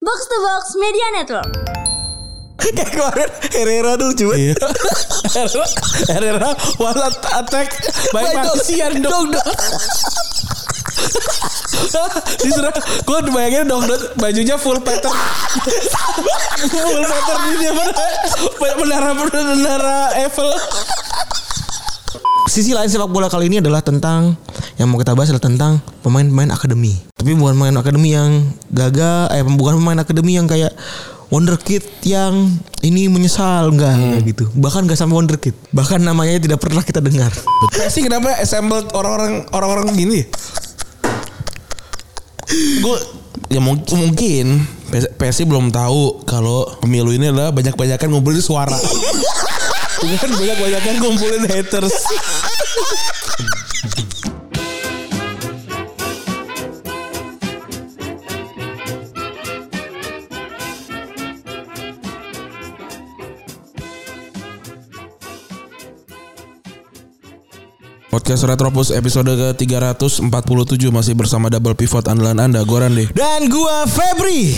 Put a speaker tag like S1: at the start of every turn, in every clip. S1: Box to Box Media Network.
S2: Kayak kemarin Herrera dulu cuy.
S3: Iya. Herrera, Herrera one attack by
S2: By
S3: Martian dong. Diserang, gue bayangin dong dok, bajunya full pattern, full pattern ini apa? Menara menara Eiffel.
S2: Sisi lain sepak bola kali ini adalah tentang yang mau kita bahas adalah tentang pemain-pemain akademi. Tapi bukan pemain akademi yang gagal, eh bukan pemain akademi yang kayak wonderkid yang ini menyesal enggak
S3: Hmm.
S2: enggak gitu. Bahkan enggak sampai wonderkid. Bahkan namanya tidak pernah kita dengar.
S3: Messi Eh, kenapa assembled orang-orang orang-orang gini? Gue ya mung- mungkin PS- PSI belum tahu kalau pemilu ini adalah banyak-banyakan ngumpulin suara. Bukan banyak-banyakan ngumpulin haters. Podcast Retropus episode ke-347 masih bersama double pivot andalan Anda, gue Rande.
S2: Dan gua Febri.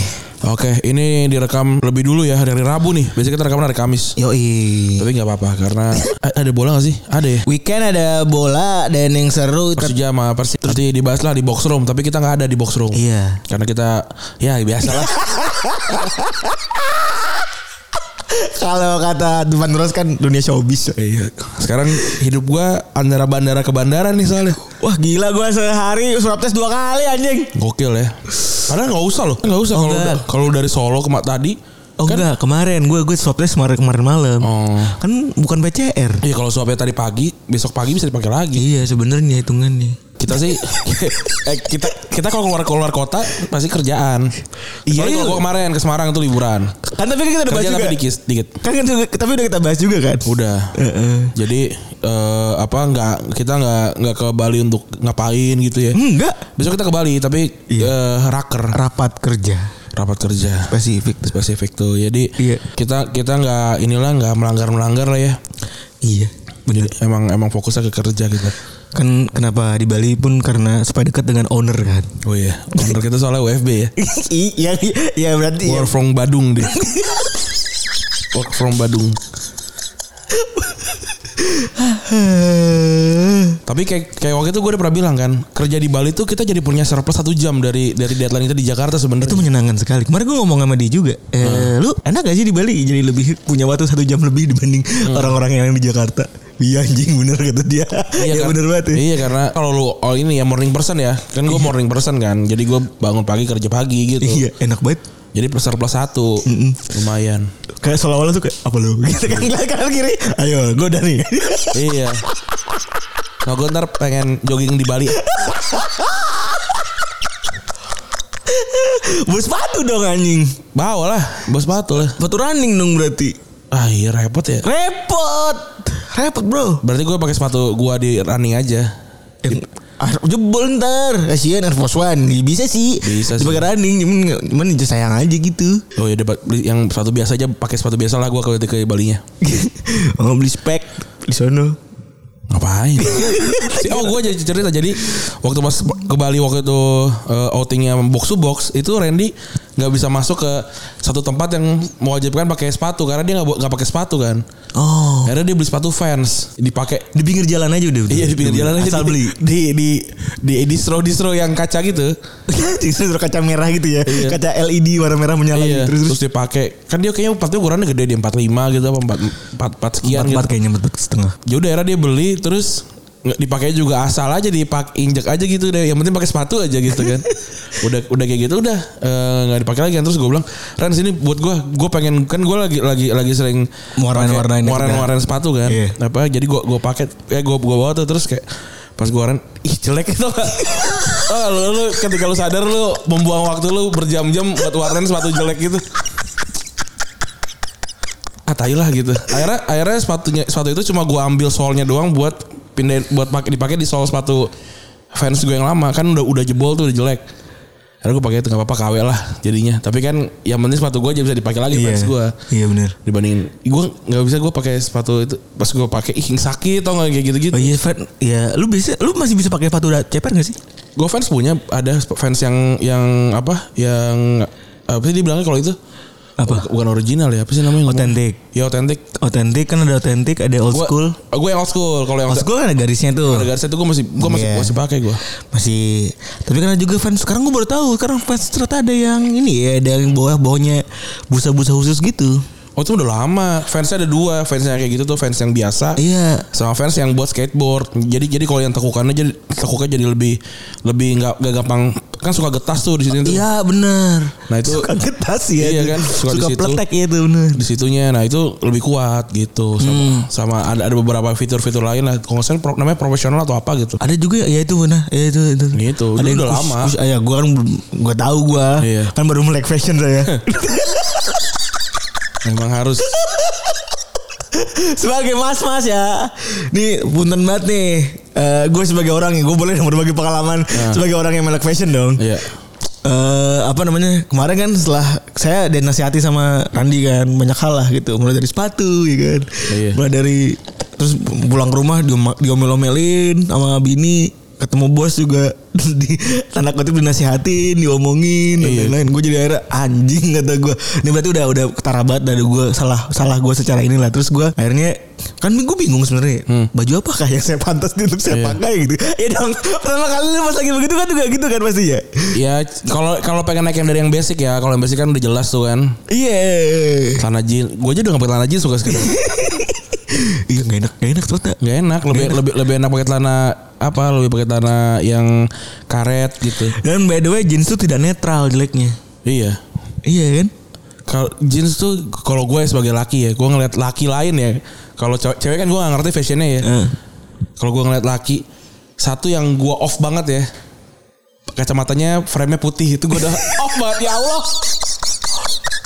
S3: Oke, ini direkam lebih dulu ya dari Rabu nih. Biasanya kita rekam hari Kamis.
S2: Yoi.
S3: Tapi nggak apa-apa karena A- ada bola gak sih? Ada ya.
S2: Weekend ada bola dan yang seru ter-
S3: Persija sama Persi. Nanti dibahas lah di box room, tapi kita nggak ada di box room.
S2: Iya.
S3: Karena kita ya biasa lah.
S2: Kalau kata Dupan Ros kan dunia showbiz.
S3: iya. Sekarang hidup gua antara bandara ke bandara nih soalnya.
S2: Wah gila gua sehari swab test dua kali anjing.
S3: Gokil ya. Padahal nggak usah loh. Nggak usah
S2: Oh,
S3: kalau
S2: nggak.
S3: da- kalau dari Solo ke Ma- tadi.
S2: Oh enggak, kemarin gue gue swab test kemarin kemarin malam.
S3: Oh.
S2: Kan bukan PCR.
S3: Iya kalau suapnya tadi pagi, besok pagi bisa dipakai lagi.
S2: Iya sebenarnya hitungannya.
S3: kita sih eh, kita kita kalau keluar keluar kota pasti kerjaan.
S2: Iya,
S3: Iya.
S2: iya.
S3: Kalau gua kemarin ke Semarang tuh liburan.
S2: Kan tapi kan kita udah bahas
S3: Kerja
S2: juga.
S3: tapi dikit dikit.
S2: Kan, kan tapi udah kita bahas juga kan.
S3: Udah.
S2: Heeh.
S3: Jadi eh, apa nggak kita nggak nggak ke Bali untuk ngapain gitu ya.
S2: Hmm, Enggak.
S3: Besok kita ke Bali tapi eh, raker
S2: Iya. Rapat kerja
S3: rapat kerja
S2: spesifik. tuh.
S3: spesifik tuh. Jadi
S2: Iya.
S3: kita kita nggak inilah nggak melanggar melanggar lah ya.
S2: Iya.
S3: Jadi emang emang fokusnya ke kerja gitu.
S2: Kan kenapa di Bali pun karena supaya dekat dengan owner kan.
S3: Oh iya, Bener kita soalnya WFB ya.
S2: iya iya berarti
S3: Work from Badung deh. Work from Badung.
S2: Eh,
S3: Tapi kayak kayak waktu itu gue udah pernah bilang kan, kerja di Bali tuh kita jadi punya surplus satu jam dari dari deadline kita di Jakarta
S2: itu
S3: sebenarnya.
S2: menyenangkan sekali. Kemarin gue ngomong sama dia juga. Eh, lu enak gak sih di Bali jadi lebih punya waktu satu jam lebih dibanding orang-orang yang di Jakarta? Iya anjing bener kata dia. Iya
S3: kan-
S2: bener banget. Ya.
S3: Iya karena kalau lu oh ini ya morning person ya, kan gue morning person kan, jadi gue bangun pagi kerja pagi gitu.
S2: Iya enak banget.
S3: Jadi plus surplus satu, lumayan.
S2: Kayak seolah-olah tuh kayak apa lu? Gitu kan kanan kanan kiri. Ayo gue udah nih.
S3: iya. Nah gue ntar pengen jogging di Bali.
S2: Bos sepatu dong anjing.
S3: Bawa lah, bos sepatu lah.
S2: Sepatu running dong berarti.
S3: Ah iya repot ya.
S2: Repot. Repot bro.
S3: Berarti gue pakai sepatu gue di running aja.
S2: Eh, ah, jebol ntar kasihan Air Force One Iya, bisa sih
S3: Bisa sih.
S2: dipakai running cuman cuman sayang aja gitu
S3: Oh ya dapat beli yang sepatu biasa aja pakai sepatu biasa lah gue kalau ke Bali nya.
S2: Oh beli spek di sono.
S3: Ngapain? Si- oh gue jadi cerita jadi waktu pas ke Bali waktu itu eh, outingnya box to box itu Randy nggak bisa masuk ke satu tempat yang mewajibkan pakai sepatu karena dia nggak bo- nggak pakai sepatu kan.
S2: Oh,
S3: Akhirnya dia beli sepatu fans dipakai
S2: di pinggir jalan aja udah.
S3: Iya di pinggir jalan aja
S2: Asal
S3: di-
S2: beli.
S3: di di di, di distro distro yang kaca gitu.
S2: Itu kaca merah gitu ya.
S3: Iya.
S2: Kaca LED warna merah menyala gitu.
S3: Iya, terus,
S2: Terus terus
S3: dipakai. Kan dia kayaknya sepatunya ukurannya gede di 45 gitu apa 4 4 sekian gitu.
S2: empat kayaknya empat setengah.
S3: Ya udah akhirnya dia beli terus nggak dipakai juga asal aja dipak injek aja gitu deh. Yang penting pakai sepatu aja gitu kan. udah udah kayak gitu udah eh, nggak dipakai lagi kan. terus gue bilang Ren sini buat gue gue pengen kan gue lagi lagi lagi sering
S2: Warnain-warnain
S3: warna warna sepatu kan
S2: Iya.
S3: apa jadi gue gue pakai ya gue gue bawa tuh terus kayak pas gue warnain ih jelek itu gak oh, lu, lu ketika lu sadar lu membuang waktu lu berjam-jam buat warnain sepatu jelek gitu ah tai lah gitu akhirnya akhirnya sepatunya sepatu itu cuma gua ambil solnya doang buat pindah buat pakai dipakai di sol sepatu fans gue yang lama kan udah udah jebol tuh udah jelek akhirnya gue pakai itu nggak apa-apa KW lah jadinya tapi kan yang penting sepatu gue aja bisa dipakai lagi fans gue
S2: Iya benar.
S3: dibandingin gue nggak bisa gue pakai sepatu itu pas gue pakai ih sakit tau nggak kayak gitu gitu
S2: Oh iya Fred, ya lu bisa lu masih bisa pakai sepatu da- ceper gak sih?
S3: gue fans punya ada fans yang yang apa yang apa sih dia bilangnya kalau itu
S4: Apa?
S3: bukan original ya apa sih namanya
S4: Otentik.
S3: ya otentik
S4: Otentik kan ada otentik, ada old school.
S3: gue yang old school kalau yang
S4: Old school kan ada garisnya tuh.
S3: ada garisnya itu gue masih gue masih
S2: Iya.
S3: masih pakai gue
S2: masih tapi karena juga fans sekarang gue baru tahu sekarang fans ternyata ada yang ini ya ada yang bawah bawahnya busa-busa khusus gitu
S3: oh itu udah lama fansnya ada dua fans yang kayak gitu tuh fans yang biasa
S2: iya
S3: sama fans yang buat skateboard jadi jadi kalau yang tekukannya jadi tekuknya jadi lebih lebih nggak nggak gampang kan suka getas tuh di sini tuh
S2: iya benar
S3: nah itu
S2: suka getas ya
S3: Iya
S2: itu.
S3: kan, suka
S2: suka,
S3: di situ.
S2: peletek ya itu benar
S3: disitunya nah itu lebih kuat gitu sama,
S2: Hmm.
S3: sama ada ada beberapa fitur-fitur lain lah kalau nggak salah pro- namanya profesional atau apa gitu
S2: ada juga ya itu benar ya itu itu
S3: Gitu,
S2: ada
S3: itu
S2: yang
S3: udah
S2: kus-
S3: lama.
S2: kus- ah, ya gue kan belum- gua tahu gue
S3: Iya.
S2: kan baru melek fashion saya
S3: memang harus
S2: sebagai mas-mas ya nih punten banget nih gue sebagai orang yang gue boleh dong berbagi pengalaman sebagai orang yang melek fashion dong
S3: Nah. Iya.
S2: eh apa namanya kemarin kan setelah saya dinasihati sama Randi kan banyak hal lah gitu mulai dari sepatu ya kan
S3: Iya.
S2: mulai dari terus pulang ke rumah dioma- diomel-omelin sama bini ketemu bos juga di tanda kutip dinasihatin diomongin dan
S3: Iya.
S2: lain-lain gue jadi akhirnya anjing kata gue ini berarti udah udah ketara banget dari gue salah salah gue secara inilah terus gue akhirnya kan gue bingung sebenarnya baju apakah yang saya pantas untuk saya
S3: Hmm. Iya.
S2: pakai gitu ya dong pertama kali lu pas lagi begitu kan juga gitu kan pasti ya
S3: ya c- kalau kalau pengen naik yang dari yang basic ya kalau yang basic kan udah jelas tuh kan
S2: Iya.
S3: celana jeans gue aja udah nggak pakai celana jeans suka sekali
S2: Iya gak enak, gak enak ternyata.
S3: nggak enak lebih lebih lebih enak pakai celana apa lebih pakai celana yang karet gitu
S2: Dan by the way jeans tuh tidak netral jeleknya.
S3: iya
S2: Iya kan?
S3: kalau jeans tuh kalau gue sebagai laki ya gue ngeliat laki lain ya kalau cewek, cewek kan gue gak ngerti fashionnya ya
S2: Heeh.
S3: kalau gue ngeliat laki satu yang gue off banget ya kacamatanya frame-nya putih itu gue udah off banget ya Allah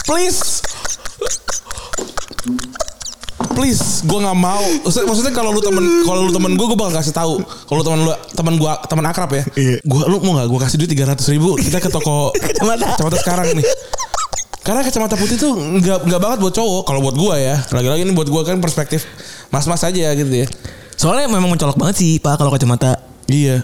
S3: please please gue nggak mau Maksud- maksudnya kalau lu temen kalau lu temen gue gue bakal kasih tahu kalau temen lu temen gue temen akrab ya
S2: Iya.
S3: gue lu mau nggak gue kasih duit tiga ratus ribu kita ke toko
S2: Kacamata.
S3: kacamata sekarang nih karena kacamata putih tuh nggak nggak banget buat cowok kalau buat gue ya lagi-lagi ini buat gue kan perspektif mas-mas aja gitu ya
S2: Soalnya memang mencolok banget sih pak kalau kacamata.
S3: Iya.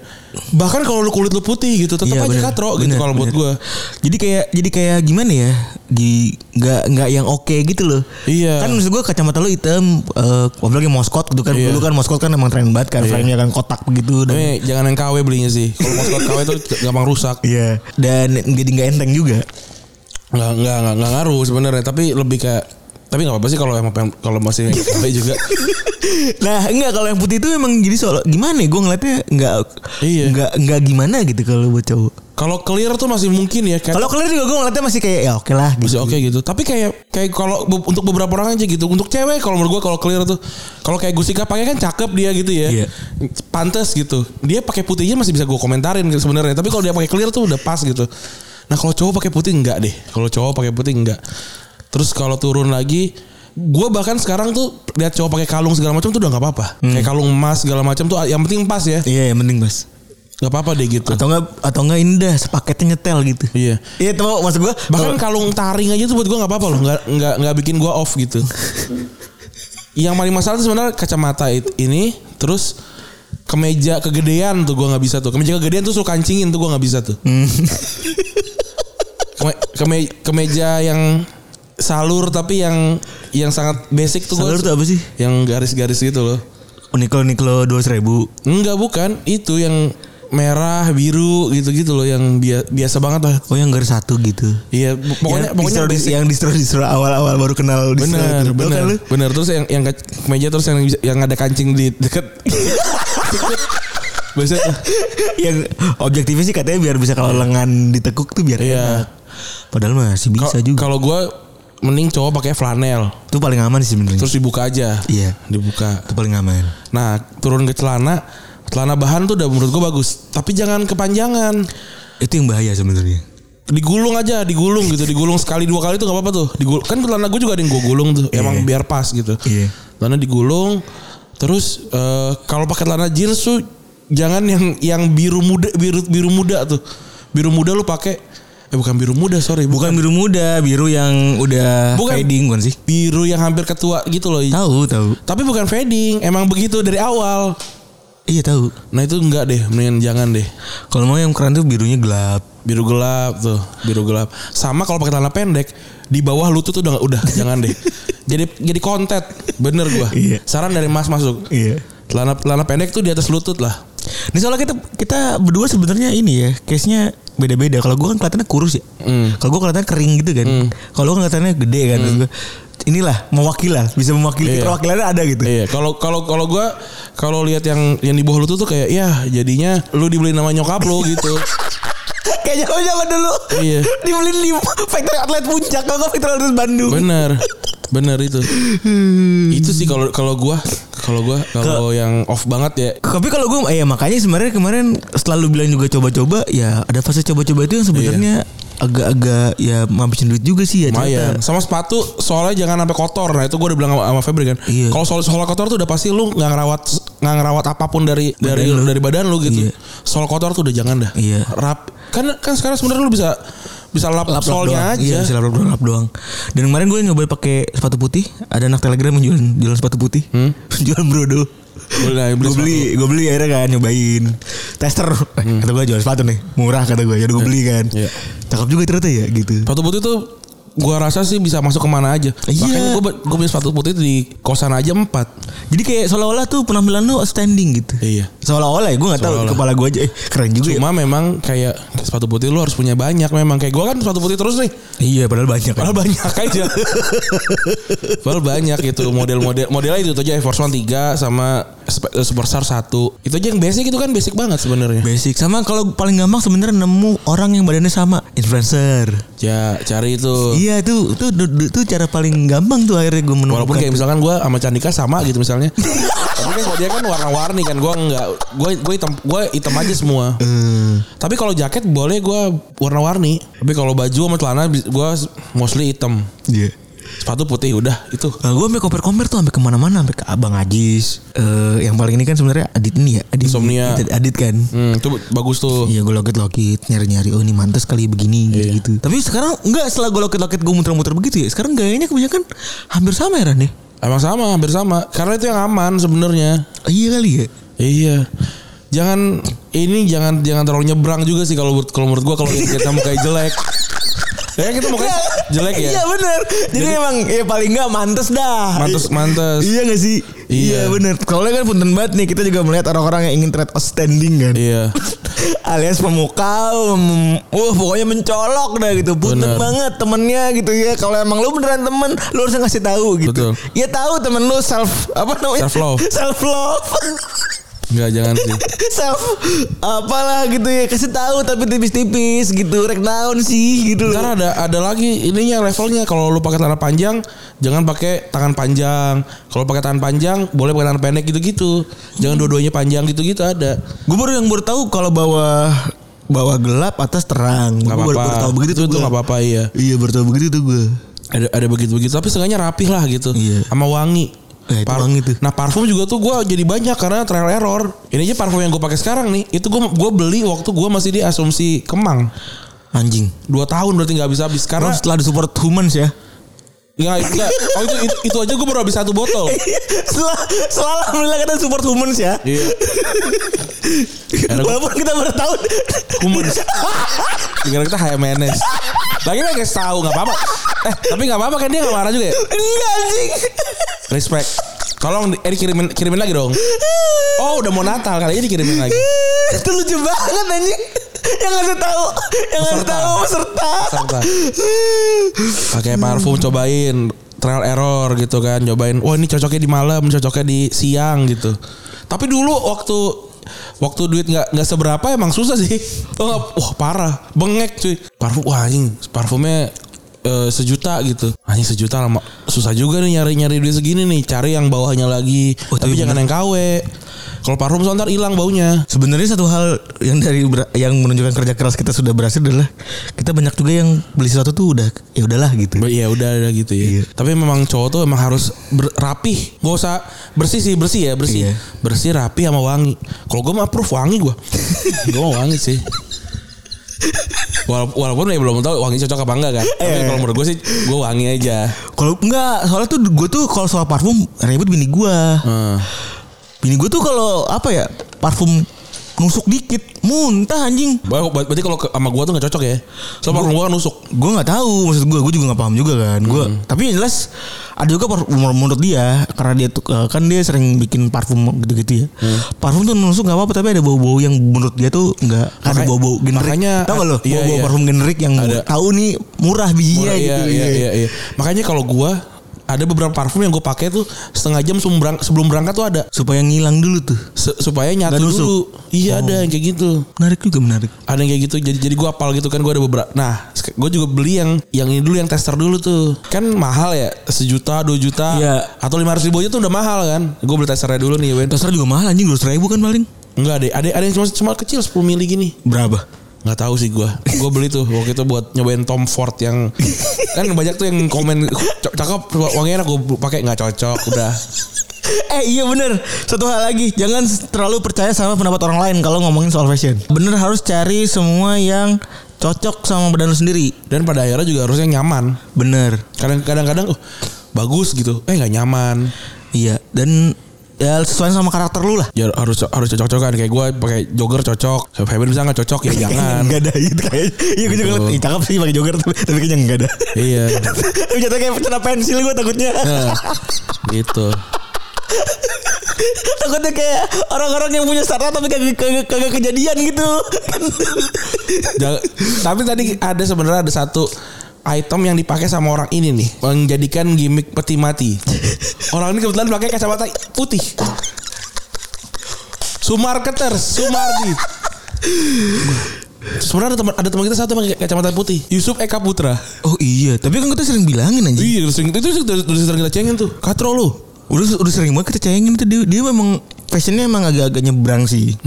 S3: Bahkan kalau lu kulit lu putih gitu tetap
S2: Iya,
S3: aja
S2: bener.
S3: katro gitu
S2: Bener,
S3: kalau buat
S2: bener.
S3: gua.
S2: Jadi kayak jadi kayak gimana ya? Di nggak nggak yang oke gitu loh.
S3: Iya.
S2: Kan maksud gua kacamata lu hitam, eh apalagi Moskot gitu kan.
S3: Iya.
S2: Dulu kan Moskot kan emang tren banget kan, frame-nya kan kotak begitu dan
S3: Tapi jangan yang KW belinya sih. Kalau maskot KW itu gampang rusak.
S2: Iya. Dan jadi nggak enteng juga.
S3: Nggak nggak nggak, nggak ngaruh sebenarnya, tapi lebih kayak tapi nggak apa-apa sih kalau emang pengen- kalau masih yang KW juga.
S2: Nah enggak kalau yang putih itu emang jadi soal gimana ya gue ngeliatnya enggak
S3: Iya.
S2: enggak enggak gimana gitu kalau buat cowok.
S3: Kalau clear tuh masih mungkin ya kayak
S2: Kalau clear juga gue ngeliatnya masih kayak ya oke lah gitu.
S3: masih oke gitu. Tapi kayak kayak kalau be- untuk beberapa orang aja gitu. Untuk cewek kalau menurut gua kalau clear tuh kalau kayak Gusika pakai kan cakep dia gitu ya.
S2: Iya.
S3: Pantes gitu. Dia pakai putihnya masih bisa gua komentarin gitu sebenarnya. Tapi kalau dia pakai clear tuh udah pas gitu. Nah, kalau cowok pakai putih enggak deh. Kalau cowok pakai putih enggak. Terus kalau turun lagi gua bahkan sekarang tuh lihat cowok pakai kalung segala macam tuh udah nggak apa-apa.
S2: Hmm.
S3: Kayak kalung emas segala macam tuh yang penting pas ya.
S2: Iya yang penting mas.
S3: nggak apa-apa deh gitu.
S2: Atau enggak atau enggak indah sepaketnya nyetel gitu.
S3: Iya.
S2: Iya tau maksud gue.
S3: Bahkan kalung taring aja tuh buat gue nggak apa-apa loh, nggak nggak nggak bikin gue off gitu. Yang paling masalah tuh sebenarnya kacamata it- ini, terus kemeja kegedean tuh gue nggak bisa tuh. Kemeja kegedean tuh suruh kancingin tuh gue nggak bisa tuh.
S2: Hmm.
S3: Keme- keme- kemeja yang salur tapi yang yang sangat basic tuh
S2: Salur
S3: gue
S2: tuh apa sih?
S3: yang garis-garis gitu loh.
S2: Uniqlo Uniqlo dua ribu.
S3: Enggak bukan, itu yang merah, biru gitu-gitu loh yang bia- biasa banget lah.
S2: Oh yang garis satu gitu.
S3: Iya, pokoknya
S2: yang
S3: pokoknya
S2: distro,
S3: basic.
S2: yang distro distro awal awal baru kenal distro.
S3: Bener,
S2: gitu. Tau
S3: bener,
S2: kan lu?
S3: bener. Terus yang yang ke- meja terus yang yang ada kancing di deket. Biasa tuh.
S2: yang objektifnya sih katanya biar bisa kalau lengan ditekuk tuh biar
S3: Iya.
S2: enak. Padahal masih bisa
S3: Kalau-
S2: juga.
S3: Kalau gue mending cowok pakai flanel,
S2: Itu paling aman sih sebenarnya.
S3: terus dibuka aja.
S2: Iya.
S3: Dibuka.
S2: Itu paling aman.
S3: Nah turun ke celana, celana bahan tuh udah menurut gue bagus. Tapi jangan kepanjangan.
S2: Itu yang bahaya sebenarnya.
S3: Digulung aja, digulung gitu, digulung sekali dua kali tuh nggak apa-apa tuh. Digul kan celana gue juga ada yang gue gulung tuh, emang biar pas gitu.
S2: Iya.
S3: Celana digulung, terus eh, kalau pakai celana jeans tuh jangan yang yang biru muda biru biru muda tuh. Biru muda lu pakai eh bukan biru muda sorry
S2: Bukan
S3: bukan
S2: biru muda, biru yang udah
S3: Bukan.
S2: fading bukan sih?
S3: biru yang hampir ketua gitu loh.
S2: Tahu, tahu.
S3: Tapi bukan fading, emang begitu dari awal.
S2: Iya tahu.
S3: Nah itu enggak deh, mendingan jangan deh.
S2: Kalau mau yang keren tuh birunya gelap.
S3: biru gelap tuh biru gelap sama kalau pakai celana pendek di bawah lutut tuh udah udah jangan deh jadi jadi kontet bener gua
S2: Iya.
S3: saran dari mas masuk
S2: Iya.
S3: celana celana pendek tuh di atas lutut lah
S2: Ini soalnya kita kita berdua sebenarnya ini ya, case-nya beda-beda. Kalau gua kan kelihatannya kurus ya.
S3: Hmm.
S2: Kalau gua kelihatannya kering gitu kan. Kalau lu kan kelihatannya gede kan. Terus gua, Inilah mewakili lah, bisa mewakili
S3: Iya.
S2: perwakilannya ada gitu.
S3: Iya, kalau kalau kalau gua kalau lihat yang yang di bawah lutut tuh kayak ya jadinya lu dibeliin sama nyokap lu gitu.
S2: Kayak zaman zaman dulu.
S3: Iya.
S2: Dibeliin di factory outlet puncak, kalau nggak factory outlet Bandung.
S3: Bener. Bener itu. itu sih kalau kalau gua kalau gua kalau yang off banget ya
S2: Tapi kalau gue, eh, ya makanya sebenarnya kemarin selalu bilang juga coba-coba, ya ada fase coba-coba itu yang sebenarnya agak-agak ya ngabisin duit juga sih ya.
S3: Iya. lumayan.
S2: ternyata.
S3: Sama sepatu soalnya jangan sampai kotor. Nah, itu gua udah bilang sama, sama Febri kan.
S2: Iya.
S3: Kalau soal soal kotor tuh udah pasti lu nggak ngerawat nggak ngerawat apapun dari dari
S2: lu.
S3: dari badan lu gitu.
S2: Iya.
S3: Soal kotor tuh udah jangan dah.
S2: Iya.
S3: Rap kan kan sekarang sebenarnya lu bisa bisa lap,
S2: Lap-lap doang.
S3: solnya
S2: Iya,
S3: aja.
S2: bisa lap-lap doang, lap doang. Dan kemarin gue nyoba pakai sepatu putih. Ada anak telegram yang jualan, jualan sepatu putih. jualan brodo.
S3: Boleh lah, Hmm? beli
S2: Gue beli, gue beli akhirnya kan nyobain tester. Eh, Kata gue jual sepatu nih, murah kata gue. Ya gue beli kan.
S3: Hmm. Iya.
S2: Cakep juga ternyata ya gitu.
S3: Sepatu putih tuh gua rasa sih bisa masuk kemana aja.
S2: Iya.
S3: Makanya gua gua punya sepatu putih di kosan aja empat.
S2: Jadi kayak seolah-olah tuh penampilan lu outstanding gitu.
S3: Iya.
S2: Seolah-olah ya gue gak tahu
S3: Seolah-olah.
S2: kepala gue aja eh, keren juga ya.
S3: Cuma memang kayak sepatu putih lu harus punya banyak memang kayak gua kan sepatu putih terus nih.
S2: Iya padahal banyak.
S3: Padahal banyak aja. Padahal banyak gitu model-model modelnya itu aja Air Force One 3 sama Sp- eh, Superstar 1. Itu aja yang basic itu kan basic banget sebenarnya.
S2: Basic sama kalau paling gampang sebenarnya nemu orang yang badannya sama influencer.
S3: Ya, cari itu.
S2: Iya itu itu itu itu cara paling gampang tuh akhirnya gue menemukan.
S3: Walaupun kayak misalkan gue sama Candika sama gitu misalnya. Tapi kan kalau dia kan warna-warni kan gue enggak gue gue hitam gue hitam aja semua.
S2: Hmm.
S3: Tapi kalau jaket boleh gue warna-warni. Tapi kalau baju sama celana gue mostly hitam.
S2: Iya.
S3: Sepatu putih udah itu.
S2: Nah, gue sampai compare-compare tuh sampai kemana-mana sampai ke Abang Ajis. Eh yang paling ini kan sebenarnya Adit ini ya. Adit,
S3: Insomnia.
S2: Adit, Adit kan.
S3: Hmm, itu bagus tuh.
S2: Iya gue loket-loket nyari-nyari oh ini mantas kali begini
S3: Iya.
S2: gitu. Tapi sekarang enggak setelah gue loket-loket gue muter-muter begitu ya. Sekarang gayanya kebanyakan hampir sama ya Ran ya.
S3: Emang sama, hampir sama. Karena itu yang aman sebenarnya.
S2: Iya kali ya.
S3: Iya. Jangan ini jangan jangan terlalu nyebrang juga sih kalau menurut- kalau menurut gua kalau kita mukanya jelek. Ya kita mukanya jelek ya.
S2: Iya bener. Jadi, emang ya paling enggak mantas dah.
S3: Mantes mantes.
S2: Iya gak sih?
S3: Iya.
S2: bener. Kalau kan punten banget nih kita juga melihat orang-orang yang ingin trade outstanding kan.
S3: Iya.
S2: alias pemuka mem- wah pokoknya mencolok dah gitu punten
S3: Bener.
S2: banget temennya gitu ya kalau emang lu beneran temen lu harus ngasih tahu gitu
S3: Betul.
S2: ya tahu temen lu self apa namanya
S3: Self love.
S2: self love
S3: Enggak jangan sih.
S2: self apalah gitu ya kasih tahu tapi tipis-tipis gitu rek naon sih gitu loh
S3: Ntar ada ada lagi ininya levelnya kalau lu pakai tangan panjang jangan pakai tangan panjang. Kalau pakai tangan panjang boleh pakai tangan pendek gitu-gitu. Jangan dua-duanya panjang gitu-gitu ada.
S2: gue baru yang baru tahu kalau bawa bawa gelap atas terang Gua
S3: Gak apa-apa.
S2: baru, baru tahu begitu
S3: Itu
S2: tuh
S3: tuh
S2: gua.
S3: gak apa-apa iya.
S2: iya baru tahu begitu tuh gue
S3: ada ada begitu begitu tapi seenggaknya rapih lah gitu
S2: Iya.
S3: sama wangi
S2: Eh, itu wangi tuh.
S3: nah parfum juga tuh gue jadi banyak karena trial error ini aja parfum yang gue pakai sekarang nih itu gue gue beli waktu gue masih di asumsi kemang
S2: anjing
S3: dua tahun berarti nggak bisa habis
S2: Karena
S3: karena
S2: setelah disupport humans ya
S3: nggak nggak. oh itu, itu itu aja gue baru habis satu botol
S2: Setelah setelah alhamdulillah kita support humans ya.
S3: iya
S2: Iya, Walaupun kita baru tahu
S3: humans Gara-gara kita HMNS lagi lagi guys tahu nggak apa-apa eh tapi nggak apa-apa kan dia nggak marah juga ya
S2: enggak Iya, anjing.
S3: respect tolong eh, kirimin kirimin lagi dong oh udah mau Natal kali ini dikirimin lagi
S2: Itu lucu banget anjing. Yang ngasih tahu, yang ngasih
S3: Peserta.
S2: tahu peserta.
S3: Peserta. pakai parfum cobain trial error gitu kan cobain wah ini cocoknya di malam cocoknya di siang gitu tapi dulu waktu waktu duit nggak nggak seberapa emang susah sih oh, nggak- wah parah bengek cuy parfum wah anjing parfumnya eh, sejuta gitu anjing sejuta lama susah juga nih nyari nyari duit segini nih cari yang bawahnya lagi
S2: Oh,
S3: tapi
S2: tapi
S3: jangan yang KW kalau parfum soalnya ntar hilang baunya
S2: Sebenarnya satu hal yang dari ber- yang menunjukkan kerja keras kita sudah berhasil adalah kita banyak juga yang beli sesuatu tuh udah ya udahlah gitu.
S3: Ba- Iya udah udah gitu ya.
S2: Iya.
S3: Tapi memang cowok tuh emang harus ber- rapih. Gak usah bersih sih bersih ya
S2: Iya.
S3: bersih. Bersih rapi sama wangi. Kalau gue mah proof wangi gue. gue mau wangi sih. Walaupun, walaupun ya belum tahu wangi cocok apa enggak kan. Tapi
S2: Eh.
S3: kalau menurut gue sih gue wangi aja.
S2: Kalau enggak, soalnya tuh gue tuh kalau soal parfum ribut bini gua.
S3: Hmm.
S2: Bini gue tuh kalau apa ya parfum nusuk dikit muntah anjing
S3: Ber- ber- Berarti kalau ke- sama gua tuh gak cocok ya. Soalnya parfum gua kan nusuk.
S2: gue nggak tahu maksud gue gue juga nggak paham juga kan gue
S3: Hmm.
S2: tapi yang jelas ada juga parfum menurut dia karena dia tuh eh, kan dia sering bikin parfum gitu-gitu ya
S3: Hmm.
S2: parfum tuh nusuk nggak apa-apa tapi ada bau-bau yang menurut dia tuh nggak ada
S3: Makanya-
S2: bau-bau generik
S3: makanya-
S2: tau gak lo
S3: iya,
S2: bau-bau
S3: iya.
S2: parfum generik yang
S3: Ada.
S2: tahu nih murah bijinya
S3: Murah,
S2: gitu
S3: iya, iya, iya. Makanya kalau gua ada beberapa parfum yang gue pakai tuh setengah jam sebelum berangkat, sebelum berangkat tuh ada
S2: supaya ngilang dulu tuh
S3: Se- supaya
S2: Nggak
S3: nyatu
S2: nusuk. Oh.
S3: dulu. Iya ada yang kayak gitu.
S2: menarik juga menarik
S3: Ada yang kayak gitu. Jadi jadi gue apal gitu kan gue ada beberapa. Nah, gue juga beli yang yang ini dulu yang tester dulu tuh. Kan mahal ya, sejuta, dua juta,
S2: Iya.
S3: atau lima ratus ribu aja tuh udah mahal kan. Gue beli testernya dulu nih, Wen.
S2: dasar juga mahal anjing dua ribu kan paling
S3: Enggak deh, ada ada yang cuma cuma kecil 10 mili gini.
S2: berapa
S3: Nggak tahu sih gue. Gue beli tuh waktu itu buat nyobain Tom Ford yang kan banyak tuh yang komen "Cok, cakep wangi enak gue pakai nggak cocok udah.
S2: Eh iya bener Satu hal lagi Jangan terlalu percaya sama pendapat orang lain Kalau ngomongin soal fashion Bener harus cari semua yang Cocok sama badan lu sendiri
S3: Dan pada akhirnya juga harusnya nyaman.
S2: Bener
S3: Kadang- Kadang-kadang oh, bagus gitu. Eh nggak nyaman.
S2: Iya Dan Ya sesuai sama karakter lu lah
S3: Ya harus harus cocok-cocokan kayak gue pakai jogger cocok. Faber bisa nggak cocok ya jangan.
S2: Enggak ada gitu kayaknya Iya gue juga
S3: Betul.
S2: ngeliat, "Ih, Cakep sih pakai jogger Tapi, tapi kayaknya enggak ada
S3: iya.
S2: Tapi jatuh kayak pecah pensil gue takutnya
S3: Nah, gitu.
S2: Takutnya kayak Orang-orang yang punya startup Tapi kagak kagak- kagak kejadian gitu
S3: Jangan- Tapi tadi ada sebenarnya ada satu item yang dipakai sama orang ini nih menjadikan gimmick peti mati. Orang ini kebetulan pakai kacamata putih. Sumarketer, Sumardi. Sebenarnya ada teman ada teman kita satu pakai kacamata putih, Yusuf Eka Putra.
S2: Oh iya Tapi kan kita sering bilangin anjing
S3: Iya, sering itu udah, udah sering kita cengin tuh. Katro lu.
S2: Udah udah sering banget kita cengin tuh dia, dia memang fashionnya emang agak-agak nyebrang sih.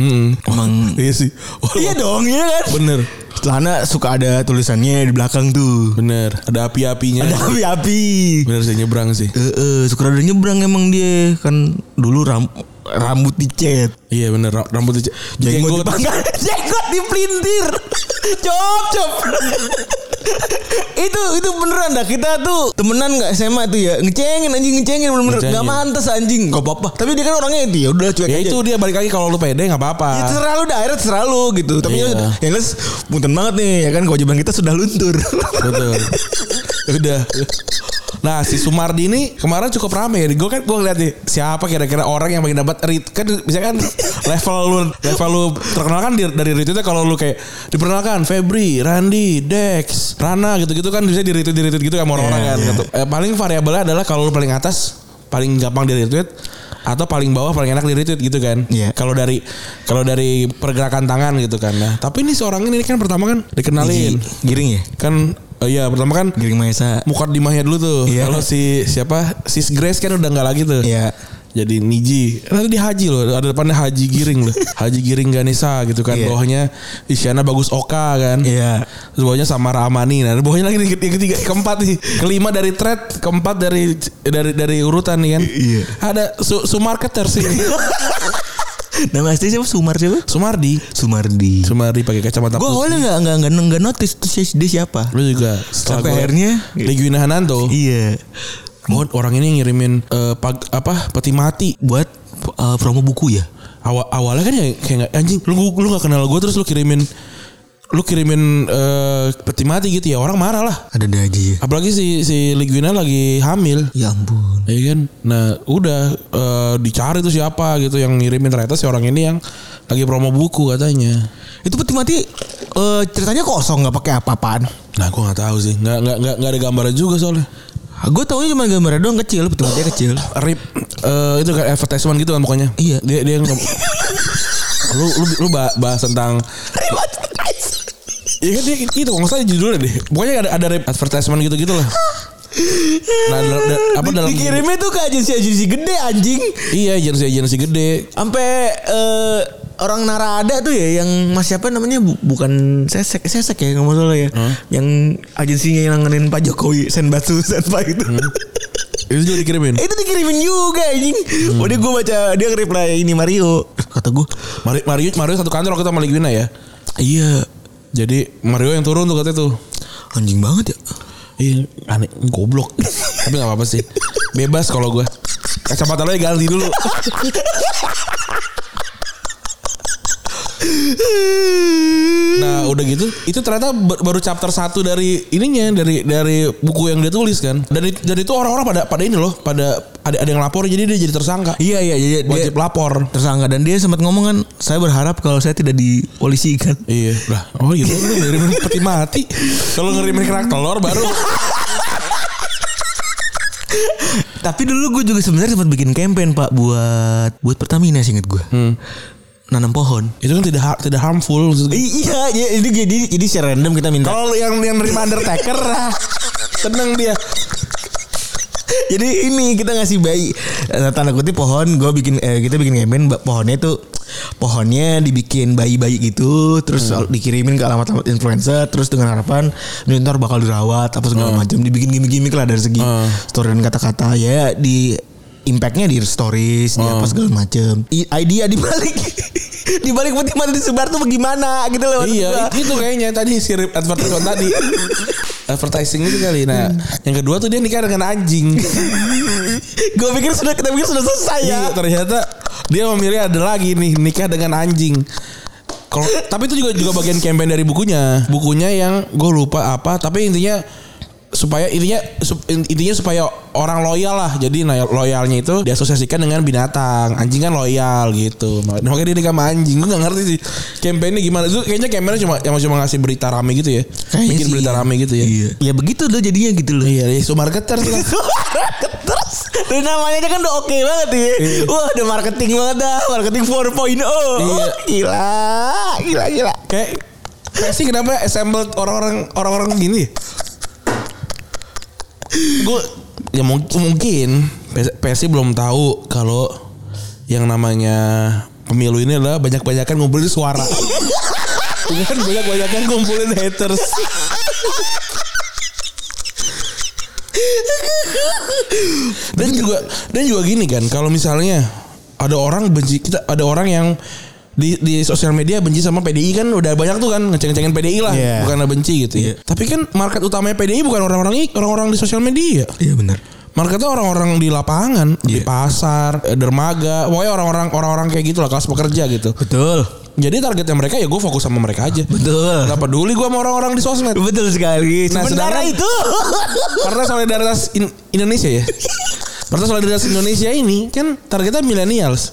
S2: Emang
S3: Iya sih. Oh,
S2: Iya dong, iya kan?
S3: Bener,
S2: Celana suka ada tulisannya di belakang tuh.
S3: bener. Ada api-apinya.
S2: Ada api-api.
S3: Bener sih nyebrang sih.
S2: Eh, eh, suka ada nyebrang emang dia kan dulu ram- rambut dicet.
S3: Iya bener ra- rambut dice-
S2: Jenggot
S3: jenggot.
S2: dipanggang, jenggot dipelintir. Cop, cop. itu itu beneran dah kita tuh temenan nggak SMA tuh ya ngecengin anjing ngecengin bener-bener nggak
S3: Ngecengin.
S2: mantas anjing nggak apa-apa tapi dia kan orangnya dia udah cuek
S3: Ya
S2: aja.
S3: itu dia balik lagi kalau lu pede nggak apa-apa.
S2: Ya terserah lu dah akhirnya terserah lu gitu Tapi
S3: Iya.
S2: ya yang jelas punten banget nih ya kan kewajiban kita sudah luntur
S3: Betul. Udah. Nah si Sumardi ini kemarin cukup rame ya. Gue kan gue ngeliat nih siapa kira-kira orang yang pengen dapat read kan misalkan level lu level lu terkenal kan di- dari retweetnya kalau lu kayak diperkenalkan Febri, Randi, Dex, Rana gitu-gitu kan bisa di retweet di retweet gitu sama orang-orang kan. gitu. Eh, paling variabelnya adalah kalau lu paling atas paling gampang di retweet atau paling bawah paling enak di retweet gitu kan.
S2: Iya.
S3: Kalau dari kalau dari pergerakan tangan gitu kan. Nah, tapi ini seorang ini kan pertama kan dikenalin
S2: Giring ya
S3: kan eh, ya pertama kan
S2: Giring Maesa
S3: mukar dimahnya dulu tuh
S2: Iya.
S3: kalau si siapa sis Grace kan udah nggak lagi tuh
S2: Iya
S3: jadi Niji nanti di Haji loh ada depannya Haji Giring loh Haji Giring Ganesa gitu kan
S2: Iya.
S3: bawahnya Isyana Bagus Oka kan
S2: Iya
S3: Terus bawahnya Samara Amani nah bawahnya lagi nih, yang ketiga keempat nih kelima dari thread keempat dari dari dari urutan nih kan
S2: Iya.
S3: ada su, su marketer sih
S2: Nama asli siapa Sumar siapa?
S3: Sumardi
S2: Sumardi
S3: Sumardi pakai kacamata
S2: Gue
S3: putih.
S2: awalnya gak, gak, gak, gak notice tuh si- dia siapa
S3: lu juga
S2: Sampai akhirnya-
S3: Ligwina Hananto
S2: Iya
S3: Oh, orang ini ngirimin eh, pag- apa peti mati.
S2: Buat uh, promo buku ya
S3: Awal awalnya kan ya kayak nggak- anjing lu lu gak kenal gue terus lu kirimin lu kirimin eh, peti mati gitu ya orang marah lah.
S2: Ada ada aja ya
S3: Apalagi si si Liguina lagi hamil.
S2: Ya ampun
S3: Ya kan? Nah, udah eh, dicari tuh siapa gitu yang ngirimin ternyata si orang ini yang lagi promo buku katanya.
S2: Itu peti mati eh, Ceritanya kosong gak pakai apa-apaan
S3: Nah, gua nggak tahu sih. Nggak nggak nggak nggak ada gambaran juga soalnya.
S2: Gue taunya cuma gambarnya doang kecil Peti matinya kecil
S3: Rip eh, itu kan advertisement gitu kan pokoknya.
S2: Iya.
S3: Dia dia nge- lu lu lu bah- bahas tentang Iya kan dia gitu kalau nggak salah judulnya deh. Pokoknya ada ada rep- advertisement gitu-gitu lah. Nah, dal- dal- apa dalam
S2: Dikirimnya tuh ke agensi-agensi gede anjing
S3: Iya, agensi-agensi gede.
S2: sampai eh, orang narada tuh ya yang mas siapa namanya bu- bukan sesek sesek ya nggak masalah ya yang agensinya yang nanganin pak jokowi senbatsu senpai itu
S3: Itu juga dikirimin.
S2: itu dikirimin juga anjing udah gue baca dia reply ini Mario Hmm. Eh, kata gue
S3: Mario Mario, Mario satu kantor waktu itu sama Ligwina ya.
S2: iya
S3: Jadi Mario yang turun tuh katanya tuh.
S2: anjing banget ya
S3: Iya, aneh goblok. Tapi nggak apa-apa sih. Bebas kalau gue. Kacamata lo ya ganti dulu. Nah udah gitu itu ternyata ba- baru chapter satu dari ininya dari dari buku yang dia tulis kan. Dan it- dan itu orang-orang pada pada ini loh pada ada ada yang lapor jadi dia jadi tersangka.
S2: Iya iya jadi dia
S3: Wajib lapor.
S2: tersangka dan dia sempat ngomong kan saya berharap kalau saya tidak dipolisikan.
S3: Iya, lah. Oh gitu. Lu ngirimin peti mati. Kalau ngirimin kerak telur baru.
S2: Tapi dulu gue juga sebenarnya sempat bikin campaign Pak buat buat Pertamina sih inget gue. Nanam pohon.
S3: itu kan tidak ha- tidak harmful. maksud gue.
S2: Iya, iya ini jadi jadi secara random kita minta.
S3: Kalau lu yang yang nerima Undertaker lah. Seneng dia.
S2: jadi ini kita ngasih bayi Eh, tanda kutip pohon gue bikin eh, kita bikin campaign ba- pohonnya itu pohonnya dibikin bayi-bayi gitu terus dikirimin ke alamat-alamat influencer terus dengan harapan ini ntar bakal dirawat apa segala macam dibikin gimmick-gimmick lah dari segi story dan kata-kata ya di impactnya di stories di apa segala macam I- idea dibalik dibalik peti mati disebar tuh bagaimana gitu loh maksud gua.
S3: Iya, itu kayaknya tadi si rip advertisement tadi. Advertising itu kali. Nah, yang kedua tuh dia nikah dengan anjing.
S2: gue pikir sudah kita pikir sudah selesai ya
S3: Iya, ternyata dia memilih ada lagi nih nikah dengan anjing. Kalau tapi itu juga juga bagian campaign dari bukunya. Bukunya yang gue lupa apa, tapi intinya supaya intinya sup- intinya supaya orang loyal lah. Jadi nah, loyalnya itu diasosiasikan dengan binatang. Anjing kan loyal gitu. Nah, makanya dia nikah sama anjing. Gue gak ngerti sih campaignnya gimana. Itu kayaknya campaignnya cuma yang cuma ngasih berita rame gitu ya.
S2: Kayaknya
S3: Bikin
S2: sih
S3: berita
S2: iya.
S3: rame gitu ya.
S2: Iya. Ya begitu udah jadinya gitu loh.
S3: Iya, iya, so marketer tuh.
S2: Terus dari namanya aja kan udah oke banget ya. Wah, udah marketing banget dah, marketing 4.0.
S3: Iya.
S2: Gila, gila, gila.
S3: Kayak kayak sih kenapa assembled orang-orang orang-orang gini? ya? Gue ya mung- mungkin PS- PSI belum tahu kalau yang namanya pemilu ini adalah banyak-banyakan ngumpulin suara. Bukan Iya kan, banyak-banyakan ngumpulin haters. dan juga dan juga gini kan kalau misalnya ada orang benci kita ada orang yang di di sosial media benci sama PDI kan udah banyak tuh kan ngeceng-cengin PDI lah
S2: Iya.
S3: bukan benci gitu ya. Tapi kan market utamanya PDI bukan orang-orang i- orang-orang di sosial media.
S2: Iya benar.
S3: Marketnya orang-orang di lapangan,
S2: Iya.
S3: di pasar, eh, dermaga, pokoknya orang-orang orang-orang kayak gitu lah kelas pekerja gitu.
S2: Betul.
S3: Jadi targetnya mereka ya gue fokus sama mereka aja.
S2: Betul.
S3: Gak peduli gue sama orang-orang di sosmed.
S2: Betul sekali.
S3: Nah,
S2: Sementara
S3: sedangkan-
S2: itu.
S3: Karena solidaritas in- Indonesia ya. Karena solidaritas Indonesia ini kan targetnya millennials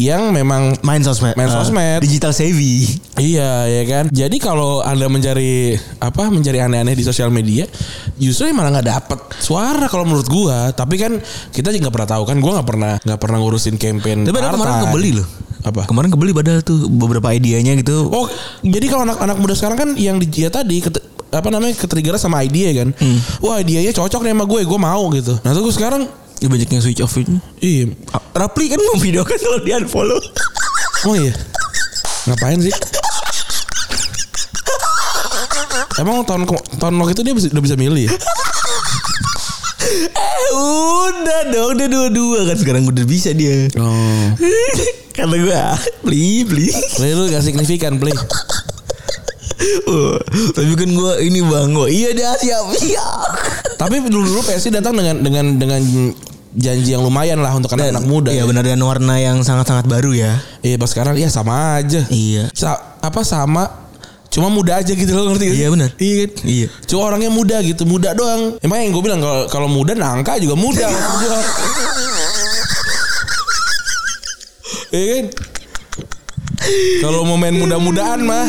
S3: yang memang
S2: main sosmed. Ah.
S3: Eh. Main sosmed.
S2: Digital savvy.
S3: Iya ya kan. Jadi kalau anda mencari apa mencari aneh-aneh di sosial media, justru yang malah nggak dapet suara kalau menurut gua. Tapi kan kita juga nggak pernah tahu kan. Gua nggak pernah nggak pernah ngurusin campaign.
S2: Tapi ada kemarin
S3: partai.
S2: kebeli loh.
S3: Apa?
S2: Kemarin kebeli padahal tuh beberapa idenya gitu.
S3: Oh, jadi kalau anak-anak muda sekarang kan yang di ya tadi ket- apa namanya ketrigger sama idea kan.
S2: Hmm.
S3: Wah, idenya cocok nih sama gue, gue mau gitu. Nah, terus sekarang
S2: Ya banyak yang switch off itu.
S3: iya.
S2: Rapli kan mau video kan kalau di unfollow.
S3: Oh iya. Ngapain sih? Emang tahun ke- tahun waktu itu dia bisa- udah bisa milih ya?
S2: Eh, Udah dong, udah dua-dua kan sekarang udah bisa dia.
S3: Oh.
S2: Kata "Ah, gue beli beli.
S3: Play lu gak signifikan play.
S2: Oh, tapi kan gue ini bang gue iya dah siap siap.
S3: Tapi dulu dulu PSI datang dengan dengan dengan janji yang lumayan lah untuk anak-anak muda.
S2: Iya
S3: ya.
S2: benar dan warna yang sangat sangat baru ya.
S3: Iya, pas sekarang ya sama aja.
S2: Iya.
S3: Sa- apa sama cuma muda aja gitu loh ngerti gak sih?
S2: Iya, benar.
S3: Iya kan?
S2: Iya.
S3: Cuma orangnya muda gitu, muda doang. Emang yang gue bilang kalau kalau muda nangka juga muda maksud gua. Iya kan? Kalau mau main muda-mudaan mah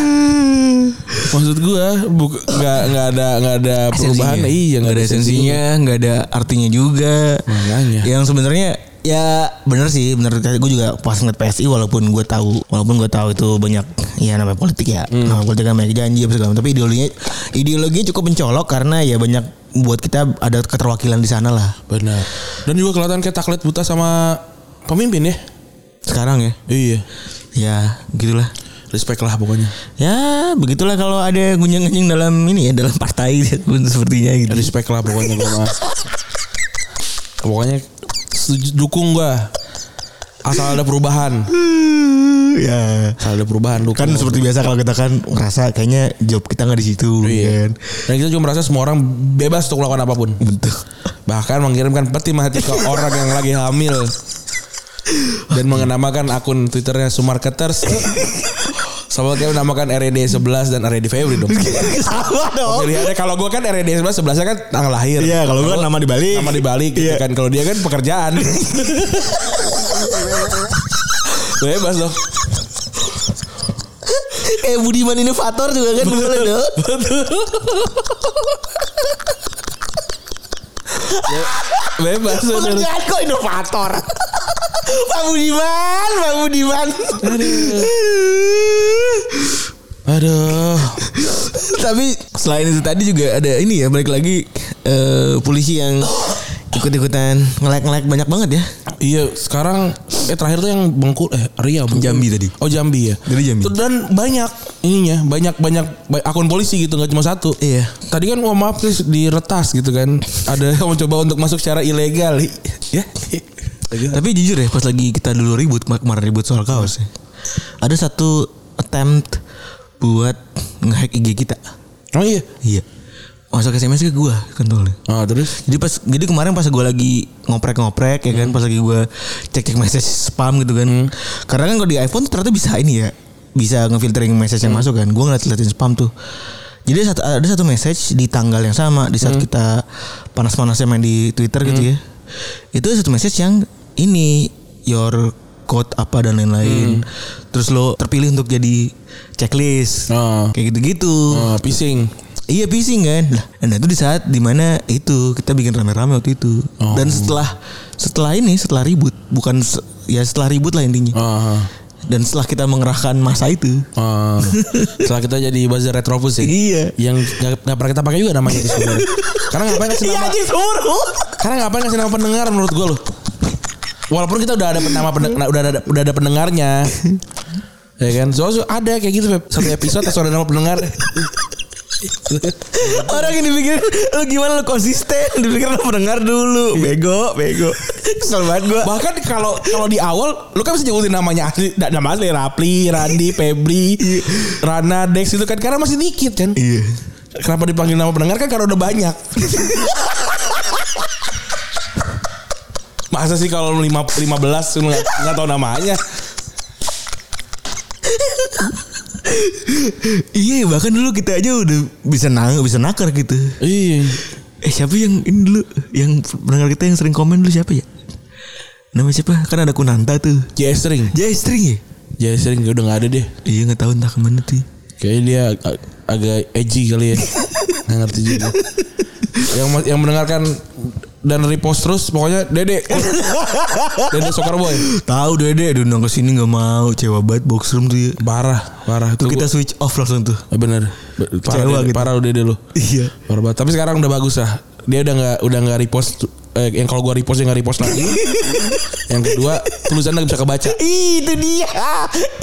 S3: maksud gua buka, nggak nggak ada nggak ada perubahan
S2: Esensinya.
S3: iya
S2: nggak ada esensinya, nggak ada artinya juga.
S3: Makanya.
S2: Yang sebenarnya ya bener sih bener gue juga pas ngeliat PSI walaupun gue tahu walaupun gue tahu itu banyak ya namanya politik ya
S3: Hmm.
S2: namanya politik kan banyak janji apa segala macam. tapi ideologinya ideologinya cukup mencolok karena ya banyak buat kita ada keterwakilan di sana lah
S3: benar dan juga kelihatan kayak taklet buta sama pemimpin ya
S2: sekarang ya
S3: iya
S2: ya gitulah
S3: respect lah pokoknya
S2: Ya begitulah kalau ada gunjang-gunjang dalam ini ya dalam partai sepertinya gitu.
S3: respect lah pokoknya gua mah pokoknya setuju- dukung gua asal ada perubahan
S2: ya
S3: asal ada perubahan dukung
S2: kan seperti biasa kalau kita kan ngerasa kayaknya job kita nggak di situ
S3: Iya.
S2: kan.
S3: dan kita juga merasa semua orang bebas untuk melakukan apapun
S2: Betul.
S3: bahkan mengirimkan peti mati ke orang yang lagi hamil dan mengenamakan akun twitternya sumarketers Sama kayak menamakan RED 11 dan RED Febri dong.
S4: Sama dong.
S3: Pilihannya kalau gua kan RED 11 11 kan tanggal lahir.
S4: Oh. Iya, kalau gua kan nama dibalik.
S3: Nama dibalik gitu
S4: Iya.
S3: kan. Kalau dia kan pekerjaan. Bebas dong.
S2: Kayak Budiman Inovator juga kan boleh dong.
S3: Bebas. bener.
S2: Pekerjaan kok inovator. Pak Budiman, Pak Budiman.
S3: Aduh.
S2: Tapi selain itu tadi juga ada ini ya balik lagi eh, polisi yang ikut-ikutan ngelek-ngelek banyak banget ya.
S3: Iya, sekarang eh terakhir tuh yang Bengkulu eh Ria Bengkulu.
S2: Jambi tadi.
S3: Oh Jambi ya.
S2: Dari Jambi.
S3: Tuh, Dan banyak ininya, banyak banyak ba- akun polisi gitu nggak cuma satu.
S2: Iya.
S3: Tadi kan wah maaf terus diretas gitu kan. Ada yang mencoba untuk masuk secara ilegal. Ya.
S2: Tapi jujur ya pas lagi kita dulu ribut kemar- kemarin ribut soal kaos ya. Ada satu attempt buat ngehack IG kita.
S3: Oh iya.
S2: Iya. Masuk SMS ke gua kontolnya.
S3: Ah terus
S2: Jadi pas jadi kemarin pas gue lagi ngoprek-ngoprek ya kan pas lagi gue cek-cek message spam gitu kan. Karena kan kalau di iPhone tuh ternyata bisa ini ya. Bisa ngefiltering message yang masuk kan. Gue ngeliat-liatin spam tuh. Jadi ada satu, ada satu message di tanggal yang sama di saat kita panas-panasnya main di Twitter gitu ya. Itu satu message yang ini your code apa dan lain-lain. Terus lo terpilih untuk jadi checklist.
S3: Ah.
S2: Kayak gitu-gitu.
S3: ah, pising.
S2: Iya pising kan. Lah, Dan itu di saat dimana itu kita bikin rame-rame waktu itu. Dan setelah setelah ini setelah ribut bukan se- ya setelah ribut lah intinya.
S3: Ah.
S2: Dan setelah kita mengerahkan masa itu.
S3: ah. Setelah kita jadi buzzer retrobus ya.
S2: Iya.
S3: Yang nggak nggak pernah kita pakai juga namanya itu sebenarnya. Karena ngapain kasih nama?
S2: Iya, suruh.
S3: Karena ngapain ngasih nama pendengar menurut gue loh. Walaupun kita udah ada nama pendengar, udah ada udah ada pendengarnya. ya kan? Soalnya ada kayak gitu Beb. satu episode terus ada nama pendengar.
S2: Orang ini pikir lu gimana lu konsisten dipikir lu pendengar dulu. Bego, bego. Kesel banget gua.
S3: Bahkan kalau kalau di awal lu kan bisa nyebutin namanya asli, da- nama asli Rapli, Randi, Febri, Rana, Dex itu kan karena masih dikit kan.
S2: Iya.
S3: Kenapa dipanggil nama pendengar kan karena udah banyak. Masa sih kalau lu lima- 15 lu nggak nggak tahu namanya?
S2: Iya, bahkan dulu kita aja udah bisa nang bisa nakar gitu.
S3: Iya.
S2: Eh siapa yang ini dulu yang pendengar kita yang sering komen dulu siapa ya? Nama siapa? Kan ada Kunanta tuh.
S3: Jastring.
S2: Jastri ya?
S3: Jadi sering udah nggak ada deh.
S2: Iya nggak tahu entah kemana tuh.
S3: Kayaknya dia ag- ag- agak edgy kali ya. Nggak ngerti juga. Yang ma- yang mendengarkan dan repost terus pokoknya Dede. Dede Soccer Boy.
S2: Tahu deh deh, aduh nongkrong sini nggak mau, cewa banget box room tuh. Ya.
S3: Parah, parah.
S2: Tuh
S3: Itu
S2: kita
S3: kita
S2: switch off langsung tuh.
S3: bener. Be- Parah,
S2: Kecewa
S3: dede,
S2: gitu.
S3: parah lu Dede lu.
S2: Iya.
S3: Parah banget. Tapi sekarang udah bagus lah. Dia udah nggak udah nggak repost eh, yang kalau gua repost dia nggak repost lagi. yang kedua tulisannya bisa kebaca.
S2: Ih, itu dia,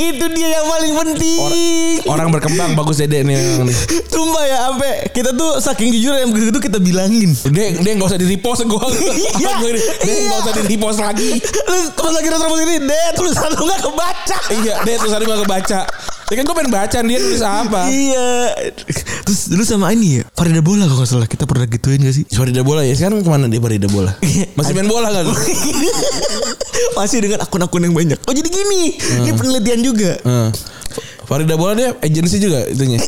S2: itu dia yang paling penting.
S3: Orang berkembang bagus Dede nih. orang nih.
S2: Sumpah ya, ampe kita tuh saking jujur yang begitu kita bilangin.
S3: Dek, dek gak usah di repost gue.
S2: Iya,
S3: Dek
S2: iya.
S3: gak usah di repost lagi.
S2: Lu pas lagi retrobus ini, deh tulisan lu nggak kebaca.
S3: Iya, deh terus tadi gak kebaca. Ya kan gue pengen baca dia tulis apa.
S2: Iya. Terus dulu sama ini ya, Farida Bola kalau nggak salah kita pernah gituin gak sih?
S3: Sorry bola ya, sekarang kemana dia pada bola? Masih main bola gak? lu?
S2: Masih dengan akun-akun yang banyak. Oh jadi gini, ini penelitian juga.
S3: Heeh. Farida bola dia agensi juga itunya.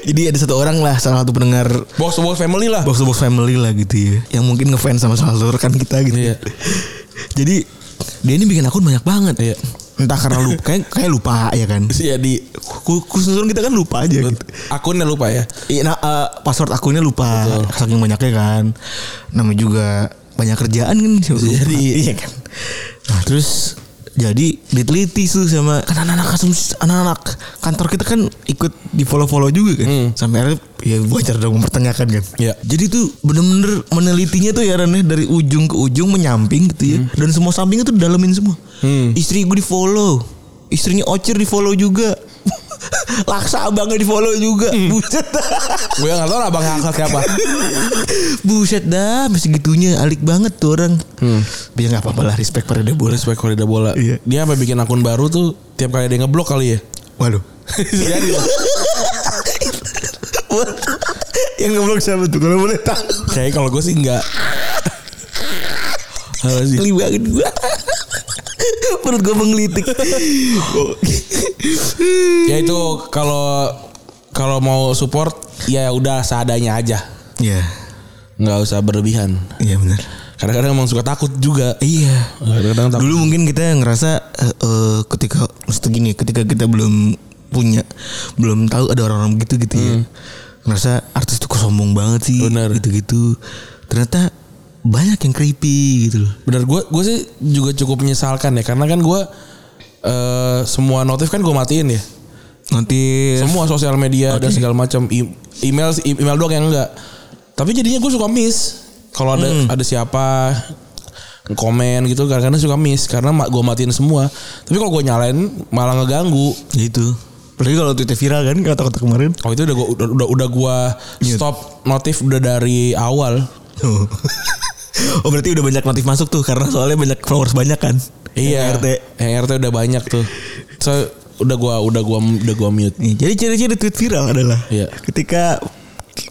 S2: Jadi ada satu orang lah salah satu pendengar
S3: Box to box family lah.
S2: box to box family lah gitu ya, yang mungkin ngefans sama salah satu rekan kita gitu.
S3: Iya.
S2: Jadi dia ini bikin akun banyak banget.
S3: Iya.
S2: Entah karena lupa, kayak kayak lupa ya kan.
S3: Terus ya di
S2: Khususnya kita kan lupa aja. Gitu.
S3: akunnya lupa ya.
S2: Iya, nah, eh, password akunnya lupa saking banyaknya kan. Namanya juga banyak kerjaan kan. Jadi iya kan. Nah, terus jadi diteliti tuh sama kan anak-anak asumsi anak-anak kantor kita kan ikut di follow-follow juga kan. Sampai akhirnya ya wajar dong mempertanyakan kan.
S3: Iya.
S2: Jadi tuh bener-bener menelitinya tuh ya Ran ya, dari ujung ke ujung menyamping gitu ya. Dan semua sampingnya tuh dalemin semua.
S3: Hmm.
S2: Istri gue di follow. Istrinya Ocir di follow juga. Laksa abangnya di follow juga.
S3: Hmm.
S2: Buset dah.
S3: Gue gak tau lah abang angkat siapa.
S2: Buset dah. Masih gitunya alik banget tuh orang.
S3: Hmm.
S2: Biar gak apa-apa lah respect pada dia boleh.
S3: Respect Farida bola.
S2: Iya.
S3: Dia sampai bikin akun baru tuh tiap kali dia ngeblok kali ya.
S2: Waduh.
S3: Jadi lah.
S2: Yang ngeblok siapa tuh kalau boleh tahu.
S3: Kayak kalau gue sih enggak. Apa sih?
S2: Geli banget gue. Menurut gue menggelitik.
S3: ya itu kalau kalau mau support ya udah seadanya aja
S2: Iya.
S3: nggak usah berlebihan
S2: Iya benar.
S3: kadang-kadang emang suka takut juga
S2: Iya.
S3: kadang-kadang takut
S2: Dulu mungkin kita ngerasa eh, eh, ketika mesti gini, ketika kita belum punya, belum tahu ada orang-orang begitu gitu ya. Ngerasa artis itu kok sombong banget sih
S3: Benar.
S2: gitu-gitu. Ternyata banyak yang creepy gitu loh.
S3: bener gue gue sih juga cukup menyesalkan ya karena kan gue eh, semua notif kan gue matiin ya
S2: Nanti
S3: semua sosial media dan segala macam I- email i- email doang yang enggak tapi jadinya gue suka miss kalau ada ada siapa komen gitu kadang-kadang suka miss karena gue matiin semua tapi kalau gue nyalain malah ngeganggu
S2: gitu. Apalagi kalau tweetnya viral kan kata-kata kemarin.
S3: Oh itu udah gua udah udah, udah gua stop notif udah dari awal.
S2: Oh. Oh, berarti udah banyak notif masuk tuh karena soalnya banyak followers banyak kan.
S3: Iya.
S2: RT.
S3: Yang RT udah banyak tuh. So udah gua udah gua udah gua mute.
S2: Nih, jadi ciri-ciri tweet viral adalah
S3: Iya.
S2: ketika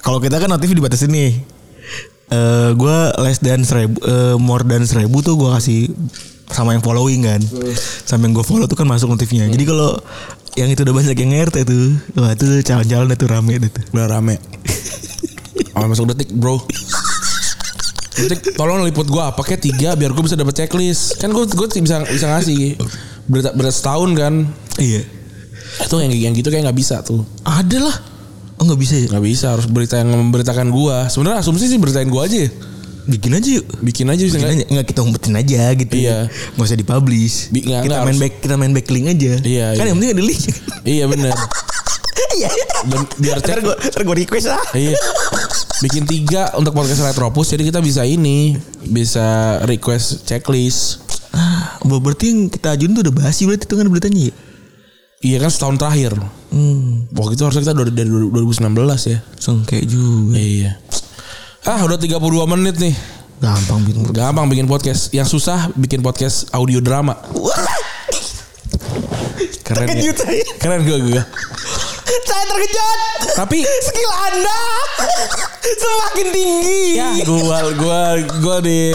S2: kalau kita kan notif dibatasi nih. Eh gua less than seribu, eh, more than seribu tuh gua kasih sama yang following kan.
S3: Iya.
S2: Sama yang gue follow tuh kan masuk notifnya. Jadi kalau yang itu udah banyak yang RT tuh, wah itu calon-calon itu rame deh tuh.
S3: Udah rame. Oh, masuk detik, Bro. Detik, tolong liput gua apa kayak tiga biar gua bisa dapat checklist. Kan gua gua bisa bisa ngasih berita berat setahun kan.
S2: Iya.
S3: Itu yang yang gitu kayak nggak bisa tuh.
S2: Ada lah. Oh nggak bisa ya?
S3: Nggak bisa harus berita yang memberitakan gua. Sebenarnya asumsi sih beritain gua aja. ya.
S2: Bikin aja yuk.
S3: Bikin aja bisa
S2: Bikin
S3: nggak?
S2: aja. Nggak kita umpetin aja gitu.
S3: Iya.
S2: Nggak usah dipublish.
S3: Bi- nggak-
S2: kita
S3: nggak
S2: main
S3: harus.
S2: back kita main backlink aja.
S3: Iya,
S2: Kan
S3: iya.
S2: yang penting ada link.
S3: Iya bener
S2: Iya.
S3: Dan- Biar
S2: Ntar
S3: cek
S2: gue ntar gue request ah. lah.
S3: Iya. Bikin tiga untuk podcast Retropus jadi kita bisa ini bisa request checklist.
S2: Ah, berarti yang kita ajuin tuh udah basi berarti itu kan beritanya ya? Hmm,
S3: Iya kan setahun terakhir. Waktu itu harusnya kita dari, dari 2019 ya.
S2: Sengke juga.
S3: Iya. Ah udah 32 menit nih.
S2: Gampang bikin perut.
S3: Gampang bikin podcast. Yang susah bikin podcast audio drama. Keren ya.
S2: Terkejut saya.
S3: Keren gue gue.
S2: gitu Saya terkejut.
S3: Tapi
S2: Skill Anda semakin tinggi.
S3: ya gua gua gua di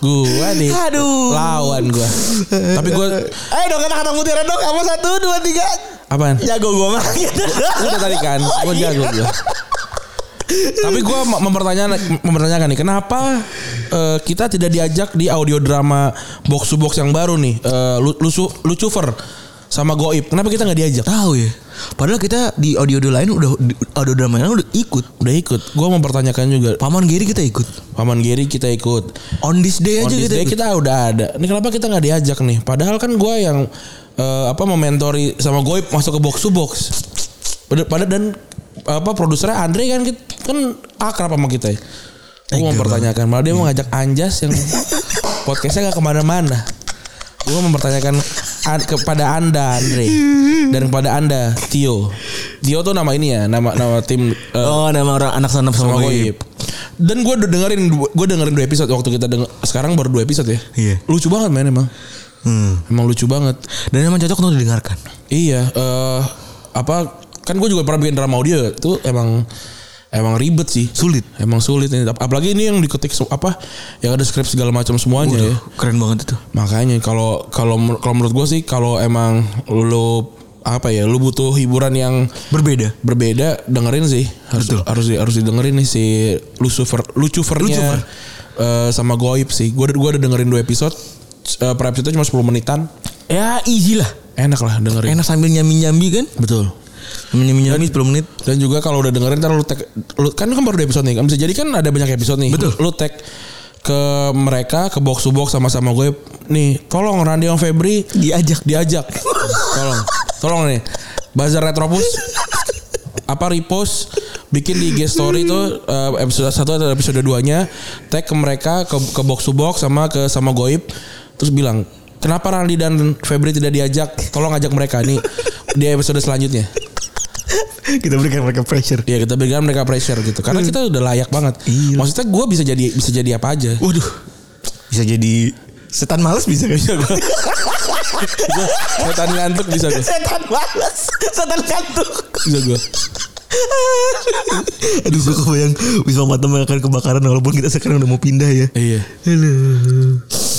S3: gua di
S2: Aduh.
S3: lawan gua. Tapi gua
S2: Ayo dong kata-kata mutiara dong. Kamu satu, dua, tiga.
S3: apaan?
S2: Jago gue mah. Gitu.
S3: Udah tadi kan Gue jago gue Tapi gue mempertanyakan, mempertanyakan nih Kenapa eh, Kita tidak diajak di audio drama Box to box yang baru nih eh, Lu- Lucu Lucufer Sama Goib Kenapa kita gak diajak
S2: Tahu ya. Padahal kita di audio audio lain udah di audio drama lain udah ikut.
S3: Udah ikut Gue mempertanyakan juga
S2: Paman Giri kita ikut.
S3: Paman Giri kita ikut
S2: On this day
S3: On
S2: aja
S3: this
S2: kita.
S3: day
S2: ikut.
S3: Iya kita udah ada Ini kenapa kita gak diajak nih Padahal kan gue yang eh, Apa mementori Sama Goib Masuk ke box to box Pada- Padahal dan apa produsernya Andre kan kit- kan akrab sama kita ya. Gue mempertanyakan malah dia mau ngajak Anjas yang podcastnya gak kemana-mana. Gue mempertanyakan an- kepada anda Andre dan kepada anda Tio. Tio tuh nama ini ya nama nama tim eh,
S2: Oh nama orang anak sanap sama, iya.
S3: sama iya.
S2: gue.
S3: Goib. Oh, Dan gue udah dengerin gue dengerin dua episode waktu kita denger, sekarang baru dua episode ya.
S2: Iya.
S3: Lucu banget men emang.
S2: Hmm.
S3: Emang lucu banget.
S2: Dan emang cocok untuk didengarkan.
S3: Iya, eh apa kan gue juga pernah bikin drama audio itu emang emang ribet sih.
S2: Sulit.
S3: Emang sulit ini. Ap- Apalagi ini yang diketik se- apa yang ada skrip segala macam
S2: Iya,
S3: semuanya ya.
S2: Keren banget itu.
S3: Makanya kalau kalau menur- kalau menurut gue sih kalau emang lu apa ya, lu butuh hiburan yang
S2: Berbeda.
S3: berbeda dengerin sih harus
S2: Betul.
S3: harus di- harus didengerin nih si Lucifer
S2: Lucifer.
S3: Lucifernya eh, sama Goib sih. Gue gua udah dengerin dua episode eh, per episode cuma 10 menitan.
S2: Ya easy lah.
S3: Enak lah dengerin.
S2: Enak sambil nyambi-nyambi kan?
S3: Betul.
S2: Nyambi-nyambi 10 menit.
S3: Dan juga kalau udah dengerin ntar lu tag lu, kan kan baru dua episode nih. Kan bisa jadi kan ada banyak episode nih. Betul. Lu tag ke mereka ke box to box sama-sama gue nih tolong Randy sama Febri
S2: Diajak.
S3: diajak tolong tolong nih bazar retropus apa repost bikin di IG story itu eh, episode 1 atau episode 2 nya tag ke mereka ke, ke box to box sama ke sama goib terus bilang kenapa Randy dan Febri tidak diajak tolong ajak mereka nih di episode selanjutnya
S2: Kita berikan mereka pressure.
S3: Iya kita berikan mereka pressure gitu karena kita udah layak banget.
S2: Iya.
S3: Maksudnya gue bisa jadi bisa jadi apa aja.
S2: Waduh. Bisa jadi setan males bisa kan?
S3: Setan ngantuk bisa gue.
S2: setan males. Setan kantuk.
S3: Bisa gue.
S2: Aduh gue kebayang Wisma Patem akan kebakaran walaupun kita sekarang udah mau pindah ya.
S3: Iya.
S2: Halo.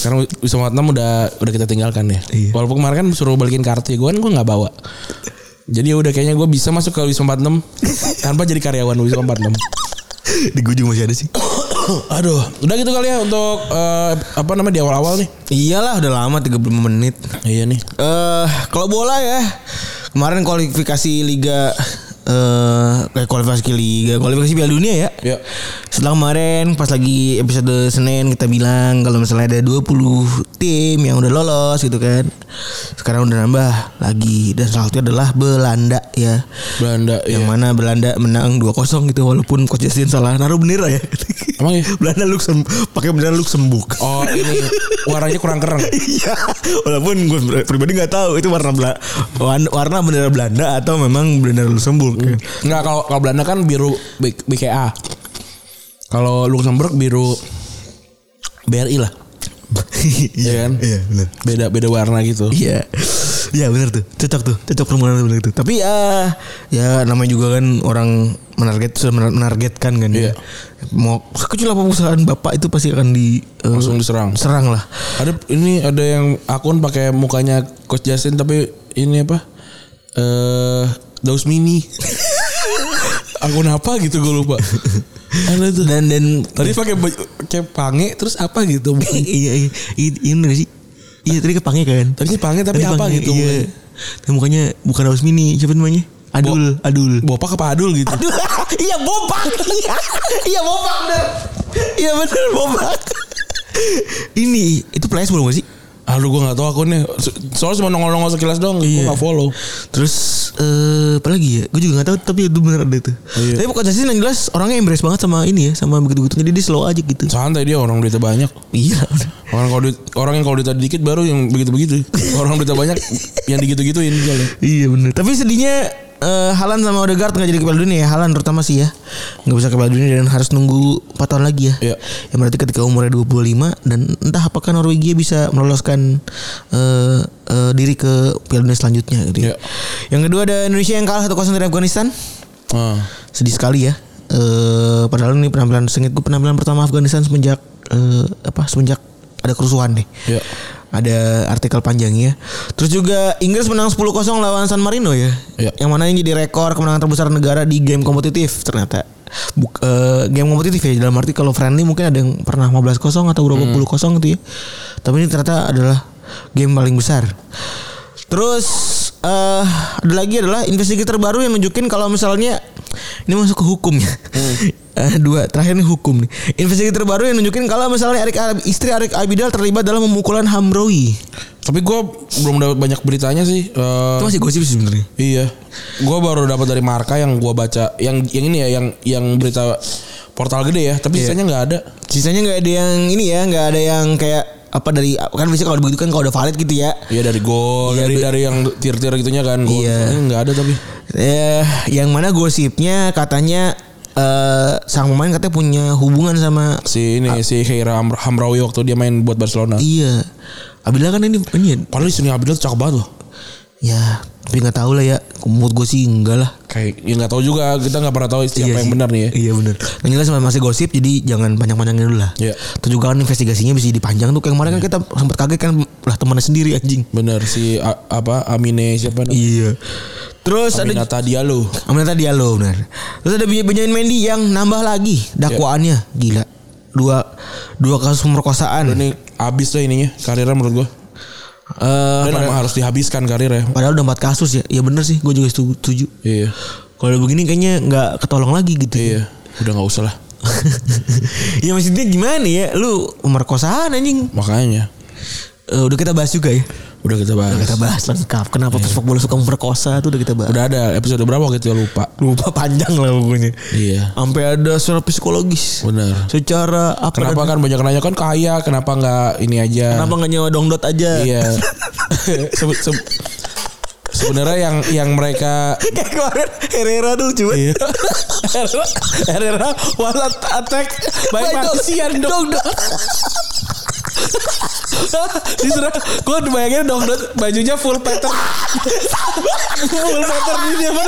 S3: Karena Wisma Atlam udah udah kita tinggalkan ya.
S4: Iya.
S3: Walaupun kemarin kan suruh balikin kartu ya, gue kan gue nggak bawa. Jadi ya udah kayaknya gue bisa masuk ke Wisma 46 tanpa jadi karyawan Wisma 46.
S4: Di gue juga masih ada sih.
S3: Aduh, udah gitu kali ya untuk eh, apa namanya di awal-awal nih.
S2: Iyalah udah lama 35 menit.
S3: Iya nih.
S2: Eh kalau bola ya kemarin kualifikasi liga eh kayak kualifikasi liga, kualifikasi Piala Dunia ya.
S3: Yuk.
S2: Setelah kemarin pas lagi episode Senin kita bilang kalau misalnya ada 20 tim yang udah lolos gitu kan. Sekarang udah nambah lagi dan salah satunya adalah Belanda ya.
S3: Belanda
S2: Yang
S3: iya.
S2: mana Belanda menang 2-0 gitu walaupun coach Justin salah naruh bendera ya.
S3: Emang ya?
S2: Belanda Luxem pakai bendera Luxembourg.
S3: Oh ini warnanya kurang keren.
S2: Iya, walaupun gue pribadi nggak tahu itu warna Bela- wan- warna bendera Belanda atau memang bendera Luxembourg.
S3: Enggak kalau kalau Belanda kan biru B- BKA. Kalau Luxembourg biru BRI lah. Iya kan?
S4: Iya benar.
S3: Beda beda warna gitu.
S2: Iya. Iya benar tuh, cocok tuh, cocok permohonan benar itu. Tapi ya, ya namanya juga kan orang menarget sudah menar- menargetkan kan.
S3: Iya.
S2: ya. Mau sekecil apa perusahaan bapak itu pasti akan di eh,
S3: Langsung diserang.
S2: serang lah.
S3: Ada ini ada yang akun pakai mukanya Coach Justin tapi ini apa? Eh Daus Mini. akun apa gitu gue lupa. Ada tuh.
S2: Dan dan
S3: Tadi pakai baju- kayak pange terus apa gitu.
S2: iya iya i- iya bener sih. Iya tadi kepange kan.
S3: Tadinya pange tapi
S2: Tadi
S3: apa
S2: pange,
S3: gitu.
S2: Iya.
S3: mukanya.
S2: Tapi mukanya bukan Haus Mini, siapa namanya? Adul, Adul.
S3: Bopak apa adul gitu.
S2: Aduh, iya bopak. Iya, iya bopak bener. Iya bener bopak. Ini itu players belum gak sih?
S3: Aduh gue gak tau akunnya So- Soalnya cuma nongol-nongol sekilas doang Gue
S2: Iya.
S3: gak follow
S2: Terus eh apa lagi ya? Gue juga gak tahu tapi itu bener ada itu.
S3: Iya.
S2: Tapi bukan Justin yang jelas orangnya embrace banget sama ini ya, sama begitu-begitu. Jadi dia slow aja gitu.
S3: Santai dia orang duitnya banyak
S2: Iya.
S3: Orang kalau duit, orang yang kalau duitnya dikit baru yang begitu-begitu Orang duitnya banyak yang digitu-gituin kali.
S2: iya bener. Tapi sedihnya eh Halan sama Odegaard gak jadi kepala dunia ya Halan terutama sih ya Gak bisa kepala dunia dan harus nunggu 4 tahun lagi ya
S3: Iya.
S2: Yang berarti ketika umurnya 25 Dan entah apakah Norwegia bisa meloloskan eh, eh, diri ke Piala Dunia selanjutnya gitu ya.
S3: Iya.
S2: Yang kedua ada Indonesia yang kalah 1-0 dari Afghanistan
S3: Ah.
S2: Sedih sekali ya Eh Padahal ini penampilan sengit gue penampilan pertama Afghanistan semenjak eh, apa Semenjak ada kerusuhan nih
S3: Iya.
S2: ada artikel panjangnya. Terus juga Inggris menang 10-0 lawan San Marino ya.
S3: Iya.
S2: Yang mana ini jadi rekor kemenangan terbesar negara di game kompetitif ternyata. Buk- eh, game kompetitif ya dalam arti kalau friendly mungkin ada yang pernah 15-0 atau berapa puluh kosong gitu ya. Tapi ini ternyata adalah game paling besar. Terus eh ada lagi adalah investigator baru yang nunjukin kalau misalnya ini masuk ke hukumnya. Eh, dua terakhir ini hukum nih. Investigator baru yang nunjukin kalau misalnya Erik Ab- istri Erik Abidal terlibat dalam pemukulan Hamroi.
S3: Tapi gue belum dapat banyak beritanya sih Eh,
S2: Itu masih gosip sih sebenarnya.
S3: Iya Gue baru dapat dari Marka yang gue baca yang, yang ini ya yang, yang berita portal gede ya
S2: Iya.
S3: Tapi sisanya gak ada
S2: Sisanya nggak ada yang ini ya, nggak ada yang kayak apa dari kan biasanya kalau begitu kan kalau udah valid gitu ya.
S3: Iya dari gol dari, dari yang tir-tir gitunya kan gol.
S2: Iya.
S3: Ini gak ada tapi
S2: Eh, yang mana gosipnya katanya eh sang pemain katanya punya hubungan sama
S3: Si ini si Heira Hamra- Hamraoui waktu dia main buat
S2: Ah.
S3: Barcelona
S2: iya. Abidal kan ini ini ya,
S3: Padahal Sunny Abidal tuh cakep banget loh.
S2: ya tapi nggak tahu lah ya. Menurut gue sih enggak lah.
S3: Kayak ya nggak tahu juga kita nggak pernah tahu siapa yang
S2: sih.
S3: benar nih ya.
S2: Iya benar. Yang jelas masih gosip jadi jangan panjang-panjangin dulu lah.
S3: Iya.
S2: Terus juga kan investigasinya bisa dipanjang tuh kayak kemarin kan kita sempat kaget kan lah temannya sendiri anjing.
S3: Benar si A- apa Amine siapa namanya?
S2: Iya. Terus ada
S3: Aminata Diallo.
S2: Aminata Diallo benar. Terus ada Benj- Benjamin Mendy yang nambah lagi dakwaannya gila. Dua dua kasus pemerkosaan.
S3: Ini abis lah ininya karirnya menurut gua.
S2: Eh,
S3: Dan emang harus dihabiskan karirnya.
S2: padahal udah empat kasus ya. Ya benar sih, gue juga setuju- setuju.
S3: Iya.
S2: Kalau begini kayaknya nggak ketolong lagi gitu.
S3: Iya. Udah nggak usah lah.
S2: ya maksudnya gimana ya? Lu pemerkosaan anjing.
S3: Makanya
S2: Eh, udah kita bahas juga ya.
S3: udah kita bahas.
S2: Udah kita bahas lengkap. Kenapa sepak bola suka memperkosa itu udah kita bahas.
S3: Udah ada episode berapa gitu ya lupa.
S2: Lupa panjang lah pokoknya.
S3: Iya.
S2: Sampai ada secara psikologis.
S3: Benar.
S2: Secara apa?
S3: Kenapa kan banyak nanya kan kaya, kenapa nggak ini aja?
S2: Kenapa nggak nyewa dongdot aja?
S3: Iya. Sebe- sebe- Sebenarnya yang yang mereka
S2: Kayak kemarin Herrera tuh cuma
S3: Iya. Herrera was at- attack by
S2: By dog-
S3: Martian dong. Diserang, gue bayangin dong dot bajunya full pattern, full pattern ini apa?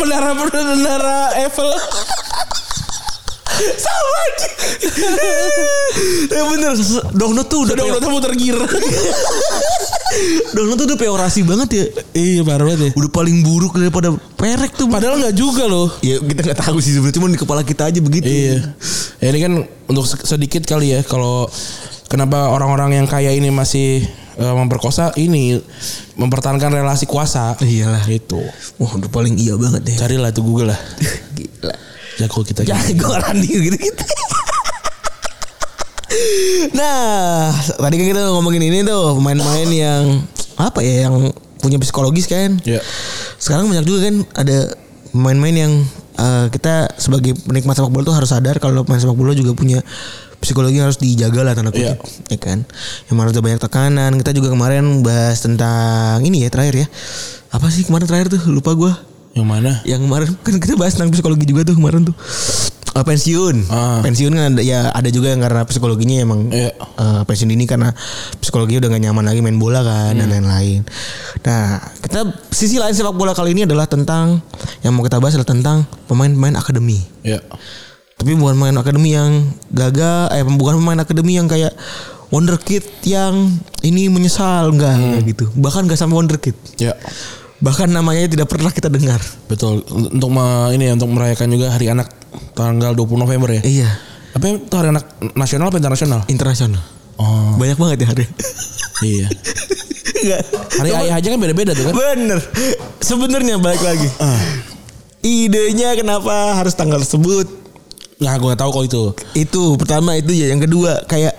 S3: Bendera bendera Eiffel.
S2: Sama aja. ya bener. se- Download tuh udah.
S3: Udah
S2: peo-
S3: udah Eh, muter gear.
S2: Download tuh udah peorasi banget ya.
S3: iya parah banget ya.
S2: Udah paling buruk daripada perek tuh.
S3: Padahal nggak juga loh.
S2: Ya kita nggak tahu sih sebenarnya cuman di kepala kita aja begitu.
S3: Iya. Ya, ini kan untuk se- sedikit kali ya kalau kenapa orang-orang yang kaya ini masih eh, memperkosa ini mempertahankan relasi kuasa.
S2: Iyalah.
S3: Itu.
S2: Wah udah paling iya banget deh.
S3: Gitu. Carilah itu Google lah.
S2: Gila.
S3: Jago kita.
S2: Jago Randy gitu gitu. nah tadi kan kita ngomongin ini tuh pemain-pemain yang apa ya yang punya psikologis kan.
S3: Iya.
S2: Sekarang banyak juga kan ada pemain-pemain yang eh, kita sebagai penikmat sepak bola tuh harus sadar kalau pemain sepak bola juga punya psikologi yang harus dijaga lah tanda kutip, ya kan. Yang harus ada banyak tekanan. Kita juga kemarin bahas tentang ini ya terakhir ya. Apa sih kemarin terakhir tuh lupa gua
S3: Yang mana?
S2: yang kemarin kan kita bahas tentang psikologi juga tuh kemarin tuh Eh, pensiun
S3: Ah.
S2: pensiun kan ada ya ada juga yang karena psikologinya emang
S3: Iya.
S2: eh, pensiun ini karena psikologinya udah gak nyaman lagi main bola kan
S3: Iya.
S2: dan lain-lain nah kita sisi lain sepak bola kali ini adalah tentang yang mau kita bahas adalah tentang pemain-pemain akademi
S3: Ya.
S2: tapi bukan pemain akademi yang gagal eh bukan pemain akademi yang kayak wonderkid yang ini menyesal enggak
S3: Hmm.
S2: gitu bahkan gak sampai wonderkid
S3: Ya.
S2: bahkan namanya tidak pernah kita dengar
S3: Betul. Untuk me- ini ya untuk merayakan juga Hari Anak tanggal 20 November ya.
S2: iya
S3: Apa yang- itu Hari Anak nasional apa internasional?
S2: internasional.
S3: Oh,
S2: Banyak banget ya hari.
S3: iya.
S2: Enggak.
S3: Hari ayah aja kan beda-beda tuh kan.
S2: Bener. Sebenarnya balik lagi.
S3: Ah.
S2: Idenya kenapa harus tanggal tersebut?
S3: Nah, gue gak tahu kalau itu.
S2: Itu pertama itu ya. Yang kedua kayak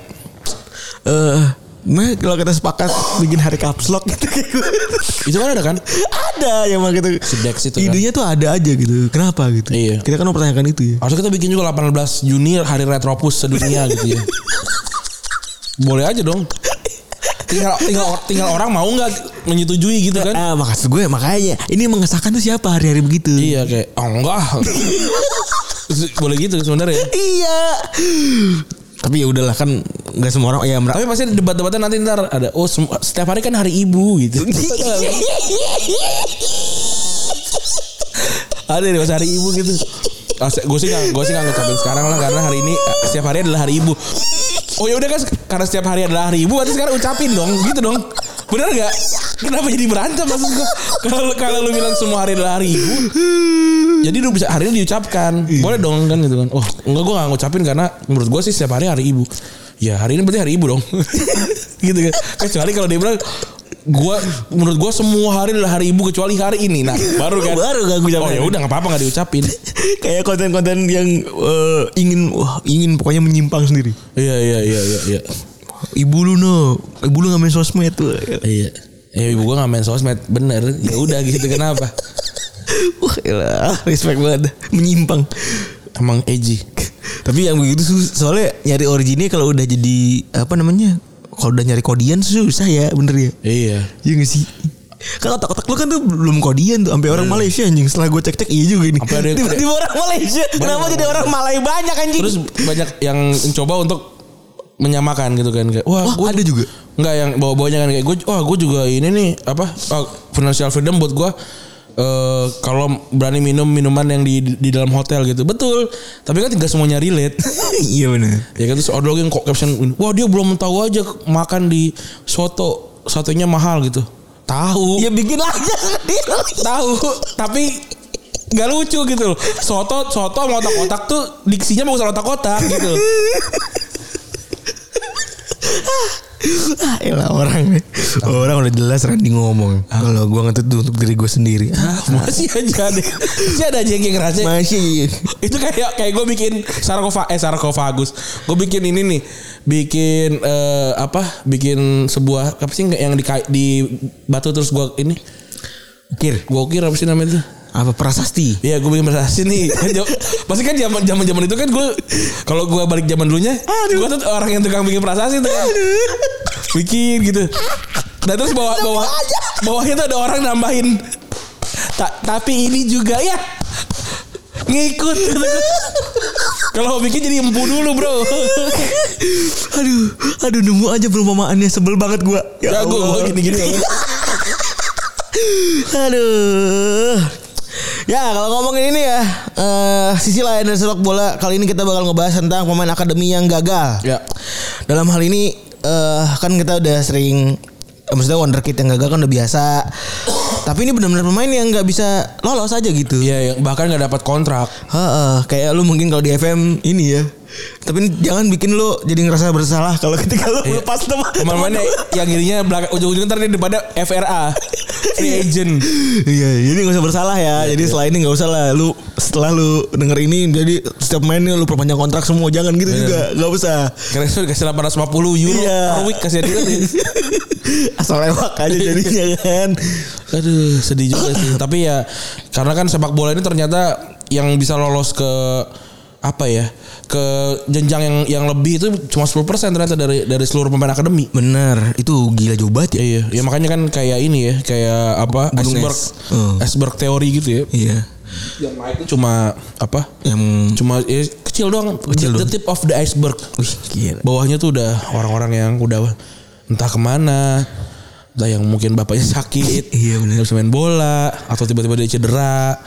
S2: eh nah kalau kita sepakat bikin hari caps lock gitu kayak gue.
S3: Itu kan ada kan?
S2: ada yang mah gitu.
S3: Si Dex itu kan.
S2: Idenya tuh ada aja gitu. Kenapa gitu?
S3: Iya.
S2: Kita kan mempertanyakan itu ya.
S3: Harusnya kita bikin juga 18 Juni Hari Retropus sedunia gitu ya. Boleh aja dong. Tinggal tinggal tinggal orang mau nggak menyetujui gitu kan?
S2: Ah, maksud gue makanya ini yang mengesahkan tuh siapa hari-hari begitu?
S3: Iya kayak oh enggak. Boleh gitu sebenarnya.
S2: Iya. Tapi ya udahlah kan nggak semua orang ya
S3: Tapi pasti debat-debatnya nanti ntar ada oh sem- setiap hari kan hari ibu gitu. ada di hari ibu gitu. Ah, se- gue sih gak, gue sih gak ngucapin sekarang lah karena hari ini eh, setiap hari adalah hari ibu. Oh ya udah kan se- karena setiap hari adalah hari ibu berarti sekarang ucapin dong gitu dong. Bener gak? Kenapa jadi berantem maksud gue? Kalau kalau lu bilang semua hari adalah hari ibu, jadi lu bisa hari ini diucapkan. Boleh dong kan gitu kan. Oh, enggak gua gak ngucapin karena menurut gua sih setiap hari hari ibu. Ya, hari ini berarti hari ibu dong. gitu kan. Kecuali kalau dia bilang gua menurut gua semua hari adalah hari ibu kecuali hari ini. Nah, baru kan.
S2: Baru gak gua ucapin.
S3: Oh, ya udah enggak apa-apa enggak diucapin.
S2: kayak konten-konten yang eh, ingin wah, ingin pokoknya menyimpang sendiri.
S3: Iya, iya, iya, iya, iya.
S2: Ibu lu no, ibu lu nggak main sosmed tuh.
S3: Iya. Ya ibu gua gak main sosmed bener ya udah gitu kenapa
S2: Wah, elah, respect banget, menyimpang.
S3: emang edgy
S2: Tapi yang begitu sus- soalnya nyari originnya kalau udah jadi apa namanya? Kalau udah nyari kodian susah ya, bener ya.
S3: iya
S2: Iya gak sih? Kan otak-otak lu kan tuh belum kodian tuh Sampai orang Malaysia anjing Setelah gue cek-cek iya juga ini
S3: Iya. Sampai ada-
S2: Tiba-tiba orang Malaysia Kenapa jadi orang Malay banyak anjing
S3: terus banyak yang mencoba untuk menyamakan gitu kan kayak wah
S2: Wah
S3: gua
S2: Oh, ada juga
S3: Enggak yang bawa-bawanya kan kayak gue, wah gue juga ini nih apa oh, financial freedom buat gue eh kalau berani minum minuman yang di di dalam hotel gitu betul tapi kan tidak semuanya relate
S2: Iya bener
S3: ya kan terus ada lagi yang kok caption wah dia belum tahu aja makan di soto satunya mahal gitu tahu
S2: Ya bikin aja sendiri
S3: Iya, tahu tapi nggak lucu gitu loh soto soto sama otak-otak tuh diksinya mau otak-otak gitu
S2: Ah, elah orang Orang udah jelas Randy ngomong Kalau gue ngetut tuh untuk diri gue sendiri Ah,
S3: masih aja deh masih ada aja yang kayak ngerasa
S2: Masih
S3: itu kayak kayak gue bikin sarkofa eh sarkofagus gue bikin ini nih bikin eh, apa bikin sebuah apa sih yang di di batu terus gue ini
S2: Kir
S3: gue ukir apa sih namanya itu
S2: Apa prasasti
S3: Iya gue bikin prestasi nih Kan jam- Pasti kan zaman zaman zaman itu kan gue kalau gue balik zaman dulunya Gue tuh orang yang tukang bikin prestasi tuh kan Bikin gitu Dan terus bawah bawah Bawahnya tuh ada orang nambahin Ta- Tapi ini juga ya Ngikut Kalau mau bikin jadi empu dulu bro
S2: Aduh Aduh nemu aja perumpamaannya Sebel banget gue
S3: Ya gue gini-gini
S2: Aduh. Ya kalau ngomongin ini ya eh, Sisi lain dari sepak bola Kali ini kita bakal ngebahas tentang pemain akademi yang gagal
S3: Ya.
S2: Dalam hal ini eh, Kan kita udah sering eh, Maksudnya wonderkid yang gagal kan udah biasa Tapi ini benar-benar pemain yang nggak bisa lolos aja gitu
S3: Iya, yang bahkan nggak dapat kontrak.
S2: Heeh, kayak lu mungkin kalau di FM ini ya. Tapi ini jangan bikin lu jadi ngerasa bersalah kalau ketika lu
S3: Iya.
S2: melepas teman.
S3: Kemarin-kemarin yang ininya belakang ujung-ujungnya ntar dia depannya FRA. Free agent.
S2: Iya, jadi gak usah bersalah ya. jadi setelah ini gak usah lah lu setelah lu denger ini jadi setiap main nih lu perpanjang kontrak semua jangan gitu juga. Gak usah.
S3: Kira itu dikasih 850 euro
S2: Iya.
S3: per week kasih dia.
S2: Asal lewat aja jadinya kan.
S3: Aduh, sedih juga sih. Tapi ya karena kan sepak bola ini ternyata yang bisa lolos ke apa ya? ke jenjang yang yang lebih itu cuma 10% ternyata dari dari seluruh pemain akademi.
S2: Bener, itu gila jauh banget ya.
S3: Iya, ya makanya kan kayak ini ya, kayak apa?
S2: Gunung
S3: Iceberg,
S2: es. Hmm.
S3: iceberg teori gitu ya.
S2: Iya.
S3: Yang naik itu cuma apa?
S2: Yang
S3: Cuma ya, kecil doang,
S2: Kecil
S3: the,
S2: doang.
S3: the tip of the iceberg.
S2: wih gila.
S3: Bawahnya tuh udah orang-orang yang udah entah kemana, entah yang mungkin bapaknya sakit,
S2: Iya, bener.
S3: nggak bisa main bola, atau tiba-tiba dia cedera,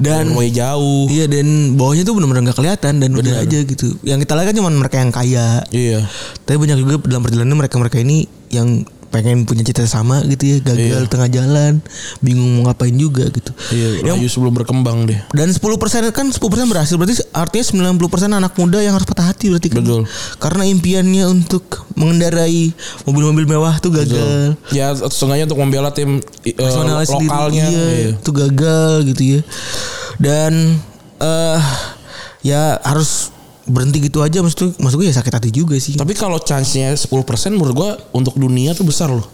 S2: Dan-
S3: rumahnya jauh.
S2: Iya dan bawahnya tuh benar-benar gak kelihatan dan udah aja gitu. Yang kita lihat kan cuma mereka yang kaya.
S3: Iya.
S2: Tapi banyak juga dalam perjalanan mereka-mereka ini yang pengen punya cita sama gitu ya, gagal
S3: Iya.
S2: tengah jalan, bingung mau ngapain juga gitu.
S3: Iya,
S2: Yang-
S3: layu sebelum berkembang deh.
S2: dan 10% kan 10% berhasil berarti artinya 90% anak muda yang harus patah hati berarti kan.
S3: Betul.
S2: Karena impiannya untuk mengendarai mobil-mobil mewah tuh gagal.
S3: Ya, setengahnya untuk membela tim eh,
S2: Iya. Personalnya sendiri,
S3: lokalnya.
S2: iya, itu gagal gitu ya. Dan eh ya harus berhenti gitu aja maksud maksud gue ya sakit hati juga sih.
S3: Tapi kalau chance-nya 10% menurut gua untuk dunia tuh besar loh.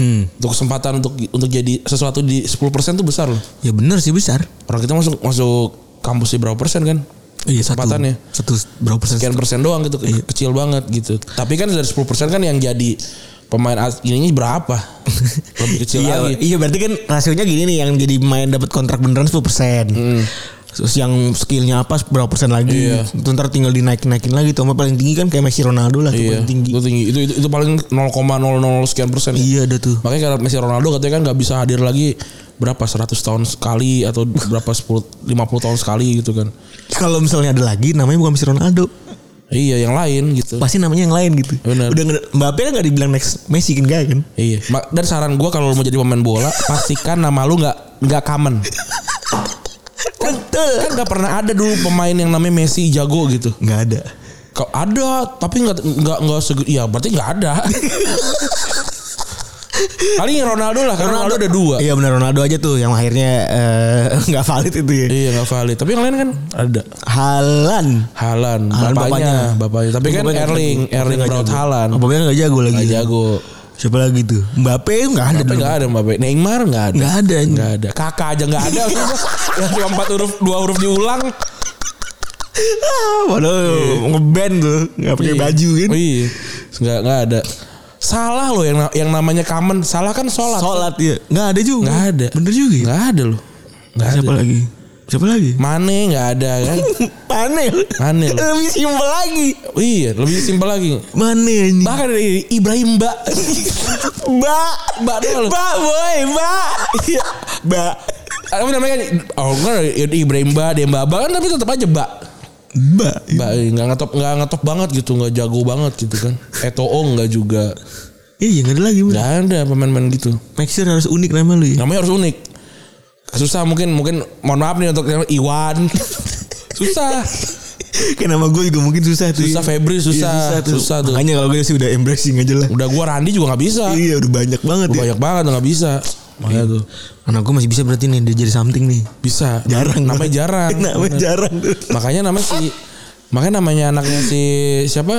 S2: Hmm.
S3: Untuk kesempatan untuk untuk jadi sesuatu di 10% tuh besar loh.
S2: Ya bener sih besar.
S3: Orang kita masuk masuk kampus di berapa persen kan?
S2: Iya satu,
S3: Kesempatannya.
S2: satu berapa persen?
S3: Sekian persen doang gitu,
S2: Iya.
S3: ke- kecil banget gitu. Tapi kan dari 10% kan yang jadi pemain as- ininya berapa? Lebih kecil
S2: iya,
S3: lagi.
S2: iya berarti kan rasionya gini nih yang jadi main dapat kontrak beneran 10 persen. Terus yang skillnya apa berapa persen lagi?
S3: Hmm. Iya.
S2: Itu ntar tinggal dinaikin naikin lagi tuh. Sama paling tinggi kan kayak Messi Ronaldo lah tuh
S3: Iya,
S2: paling tinggi.
S3: itu tinggi. Itu, itu, itu paling 0,000 sekian persen. ya.
S2: Iya ada tuh.
S3: Makanya kalau Messi Ronaldo katanya kan nggak bisa hadir lagi berapa 100 tahun sekali atau berapa 10 50 tahun sekali gitu kan.
S2: Kalau misalnya ada lagi namanya bukan Messi Ronaldo,
S3: Iya, yang lain gitu.
S2: pasti namanya yang lain gitu.
S3: Benar.
S2: Udah nggak- Mbappe kan nggak dibilang next Messi kan gak kan?
S3: Iya. Ma- Dan saran gua kalau lu mau jadi pemain bola, pastikan nama lu nggak nggak common.
S2: Betul.
S3: Kan nggak pernah ada dulu pemain yang namanya Messi jago gitu.
S2: Nggak ada.
S3: Kau ada, tapi nggak nggak nggak segu- Iya, berarti nggak ada. Paling Ronaldo lah, karena Ronaldo, ada dua.
S2: Iya benar Ronaldo aja tuh yang akhirnya eh, nggak valid itu ya.
S3: Iya nggak valid. Tapi yang lain kan ada.
S2: Halan.
S3: Halan,
S2: Haaland
S3: bapaknya, bapaknya. Tapi kan
S2: Bapaknya nggak
S3: Erling,
S2: jago.
S3: Erling
S2: Nggak
S3: Braut
S2: jago.
S3: Haaland.
S2: Bapaknya nggak jago lagi.
S3: Nggak jago.
S2: Siapa lagi tuh? Mbappe nggak ada
S3: Tapi
S2: dulu.
S3: nggak ada Mbappe. Neymar nggak ada.
S2: Nggak ada.
S3: Nggak ada. Kakak aja nggak ada. ya, cuma empat huruf, dua huruf diulang.
S2: Ah, Padahal ngeband tuh, nggak pakai baju kan.
S3: Iya. Nggak nggak ada. Salah loh yang na- yang namanya kamen. Salah kan sholat.
S2: Sholat ya, nggak ada juga.
S3: Nggak ada.
S2: Bener juga. ya?
S3: Nggak ada loh. Nggak ada.
S2: Siapa lagi? Siapa lagi?
S3: Mane nggak ada kan.
S2: Panel.
S3: Mane loh.
S2: Lebih simpel lagi.
S3: iya. Lebih simpel lagi.
S2: Mane anjing.
S3: Bahkan dari Ibrahim Mbak.
S2: Mbak.
S3: Mbak doang loh.
S2: Mbak boy, Mbak. Iya, Mbak.
S3: Tapi namanya kan. Oh enggak. ya Ibrahim Mbak. Dia Mbak. Mbak kan tapi tetap aja Mbak.
S2: Mbak.
S3: Mbak eh, nggak ngetop nggak ngetop banget gitu. Nggak jago banget gitu kan. Eto'o nggak juga.
S2: Iya, nggak ada lagi. Mbak.
S3: Nggak ada pemain-pemain gitu.
S2: Make sure harus unik nama lu ya.
S3: namanya harus unik susah mungkin mungkin mohon maaf nih untuk yang Iwan susah
S2: Kayak nama gue juga mungkin susah tuh. ya. Iya,
S3: Susah, Febri susah. Susah tuh.
S2: Makanya kalau gue sih udah embracing aja lah.
S3: udah gua Randi juga nggak bisa
S2: Iya udah banyak banget ya.
S3: banyak banget nggak bisa makanya tuh
S2: Anak gue masih bisa berarti nih dia jadi something nih.
S3: bisa
S2: Jarang.
S3: namanya jarang
S2: namanya
S3: Bener.
S2: jarang tuh.
S3: makanya namanya si makanya namanya anaknya si siapa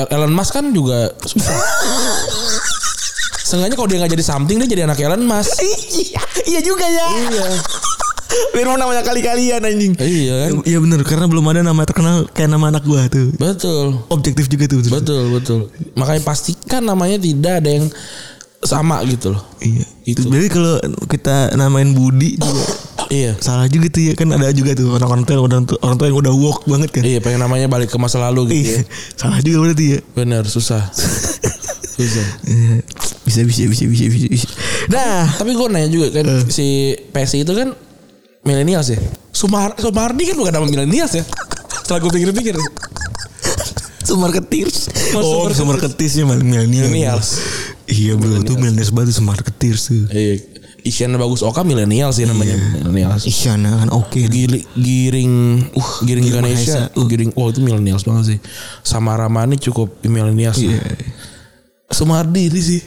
S3: eh Elon Musk kan juga susah Seenggaknya kalau dia nggak jadi something dia jadi anak Elon Musk
S2: Iya, iya juga ya.
S3: iya
S2: Biar mau namanya kali-kalian anjing.
S3: iya kan
S2: Iya bener karena belum ada nama terkenal kayak nama anak gue tuh.
S3: betul
S2: Objektif juga tuh. betul.
S3: Betul betul. Makanya pastikan namanya tidak ada yang sama gitu loh.
S2: Iya.
S3: Itu.
S2: Jadi kalau kita namain Budi juga
S3: Iya.
S2: salah juga tuh ya kan ada juga tuh orang-orang tua orang tua, orang tua yang udah woke banget kan.
S3: Iya pengen namanya balik ke masa lalu
S2: Iya.
S3: gitu. Ya.
S2: salah juga berarti ya.
S3: Bener susah. susah.
S2: Iya. Bisa bisa bisa bisa bisa bisa. bisa.
S3: Nah, tapi gue nanya juga kan si PSI itu kan milenials ya. Sumar Sumardi kan bukan nama milenials ya. Setelah gue pikir-pikir
S2: Sumber ketis.
S3: Oh,
S2: Oh, sumber ketisnya malah milenial.
S3: Millennials.
S2: Iya bro, tuh milenial banget sumber ketis tuh.
S3: Iya. Isyana Bagus Oka milenial sih namanya. Millennials.
S2: Isyana kan oke.
S3: Gili- giring uh giring Ganesha
S2: Mahesa, uh.
S3: giring wow itu milenials banget sih sama Ramani cukup milenials
S2: Iya.
S3: Sumardi ini sih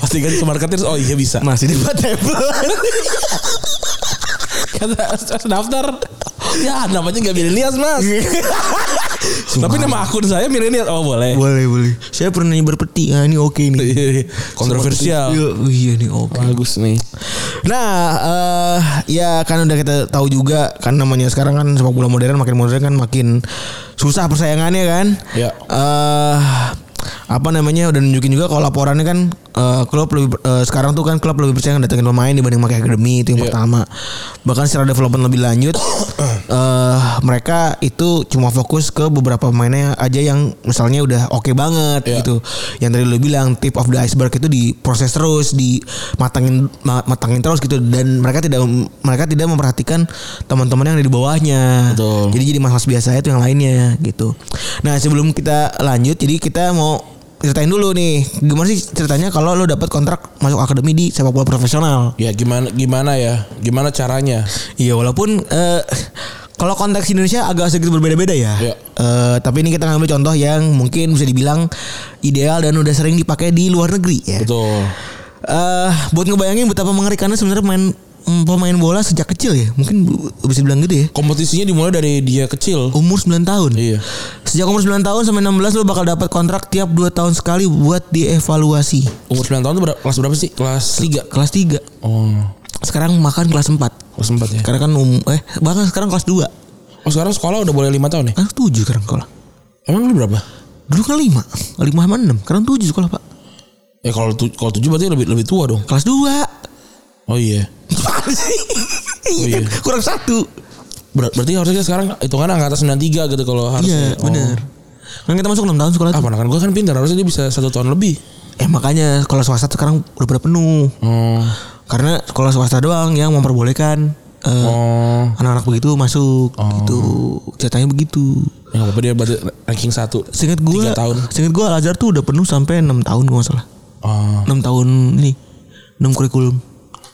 S3: pasti kan Sumar Ketir oh iya bisa
S2: Masih debatable.
S3: kata harus daftar ya namanya nggak milenials mas tapi nama akun saya milenial oh boleh
S2: boleh boleh. Saya pernah nyebar peti. Ah, ini oke nih.
S3: Iya, kontroversial
S2: Iya, iya nih oke.
S3: bagus nih
S2: Nah, eh ya kan udah kita tahu juga kan namanya sekarang kan sepak bola modern makin modern kan makin susah persaingannya kan.
S3: Ya.
S2: Eh, apa namanya udah nunjukin juga kalau laporannya kan eh, klub lebih eh, sekarang tuh kan klub lebih percaya ngedatengin pemain dibanding pakai akademi itu yang
S3: Iya.
S2: pertama. Bahkan secara development lebih lanjut eh mereka itu cuma fokus ke beberapa pemainnya aja yang misalnya udah oke banget
S3: Iya.
S2: gitu yang tadi lu bilang tip of the iceberg itu diproses terus dimatangin ma- matangin terus gitu dan mereka tidak mereka tidak memperhatikan teman-teman yang ada di bawahnya
S3: Betul.
S2: jadi jadi mas biasa itu yang lainnya gitu nah sebelum kita lanjut jadi kita mau ceritain dulu nih gimana sih ceritanya kalau lu dapat kontrak masuk akademi di sepak bola profesional
S3: ya gimana gimana ya gimana caranya
S2: iya walaupun eh, kalau konteks Indonesia agak sedikit berbeda-beda ya.
S3: Iya.
S2: Eh, tapi ini kita ngambil contoh yang mungkin bisa dibilang ideal dan udah sering dipakai di luar negeri ya.
S3: betul
S2: Eh, buat ngebayangin betapa mengerikannya sebenarnya main mm, pemain bola sejak kecil ya. Mungkin bu- bisa bilang gitu ya.
S3: kompetisinya dimulai dari dia kecil
S2: Umur 9 tahun.
S3: Iya.
S2: Sejak umur 9 tahun sampai 16 lo bakal dapat kontrak tiap 2 tahun sekali buat dievaluasi.
S3: umur 9 tahun tuh ber- kelas berapa sih kelas 3
S2: Kelas 3.
S3: oh
S2: Sekarang makan kelas 4.
S3: kelas 4 ya
S2: Karena kan um, eh bahkan sekarang kelas 2.
S3: Oh sekarang sekolah udah boleh lima tahun ya?
S2: Kan 7 sekarang sekolah.
S3: Emang lu berapa?
S2: Dulu kan 5. 5 sama 6. Sekarang 7 sekolah, Pak.
S3: Ya kalau tu, kalau tujuh berarti lebih lebih tua dong.
S2: Kelas 2.
S3: Oh iya. Oh,
S2: Iya kan? Kurang satu.
S3: Ber- berarti harusnya kita sekarang hitungan angka atas 93 gitu kalau
S2: Iya,
S3: harusnya.
S2: benar. Kan kita masuk 6 tahun sekolah
S3: Ah,
S2: tuh.
S3: ponakan gue kan pintar harusnya dia bisa satu tahun lebih.
S2: Eh makanya sekolah swasta tuh sekarang udah pada penuh.
S3: Oh.
S2: karena sekolah swasta doang yang memperbolehkan eh,
S3: Oh.
S2: anak-anak begitu masuk gitu ceritanya begitu
S3: Ya nggak apa-apa dia berarti ranking satu.
S2: seingat gua
S3: Tiga tahun.
S2: seingat gua Al Azhar tuh udah penuh sampai 6 tahun gua nggak salah
S3: Oh.
S2: 6 tahun ini 6 kurikulum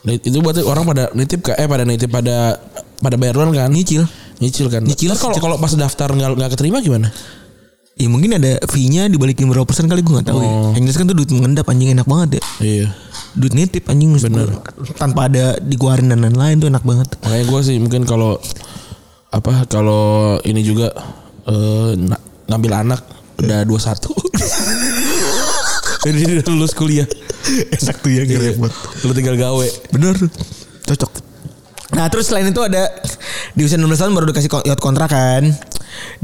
S3: Nah, Itu berarti orang pada nitip ke eh pada nitip pada pada bayar kan?
S2: nyicil
S3: Nyicil kan.
S2: Nyicil.
S3: Terus kalau kalau pas daftar nggak nggak keterima gimana?
S2: ya mungkin ada fee-nya dibalikin berapa persen kali gua nggak tahu ya yang jelas kan tuh duit mengendap anjing enak banget ya
S3: Iya.
S2: duit nitip anjing bener tanpa ada dikeluarin dan lain-lain tuh enak banget
S3: Makanya gue sih mungkin kalau apa kalau ini juga eh, na- ngambil anak udah 21. Jadi udah lulus kuliah.
S2: enak tuh ya
S3: Iya. Lu tinggal gawe.
S2: Bener Cocok Nah terus selain itu ada Di usia 16 tahun baru dikasih ko- yacht kontrak kan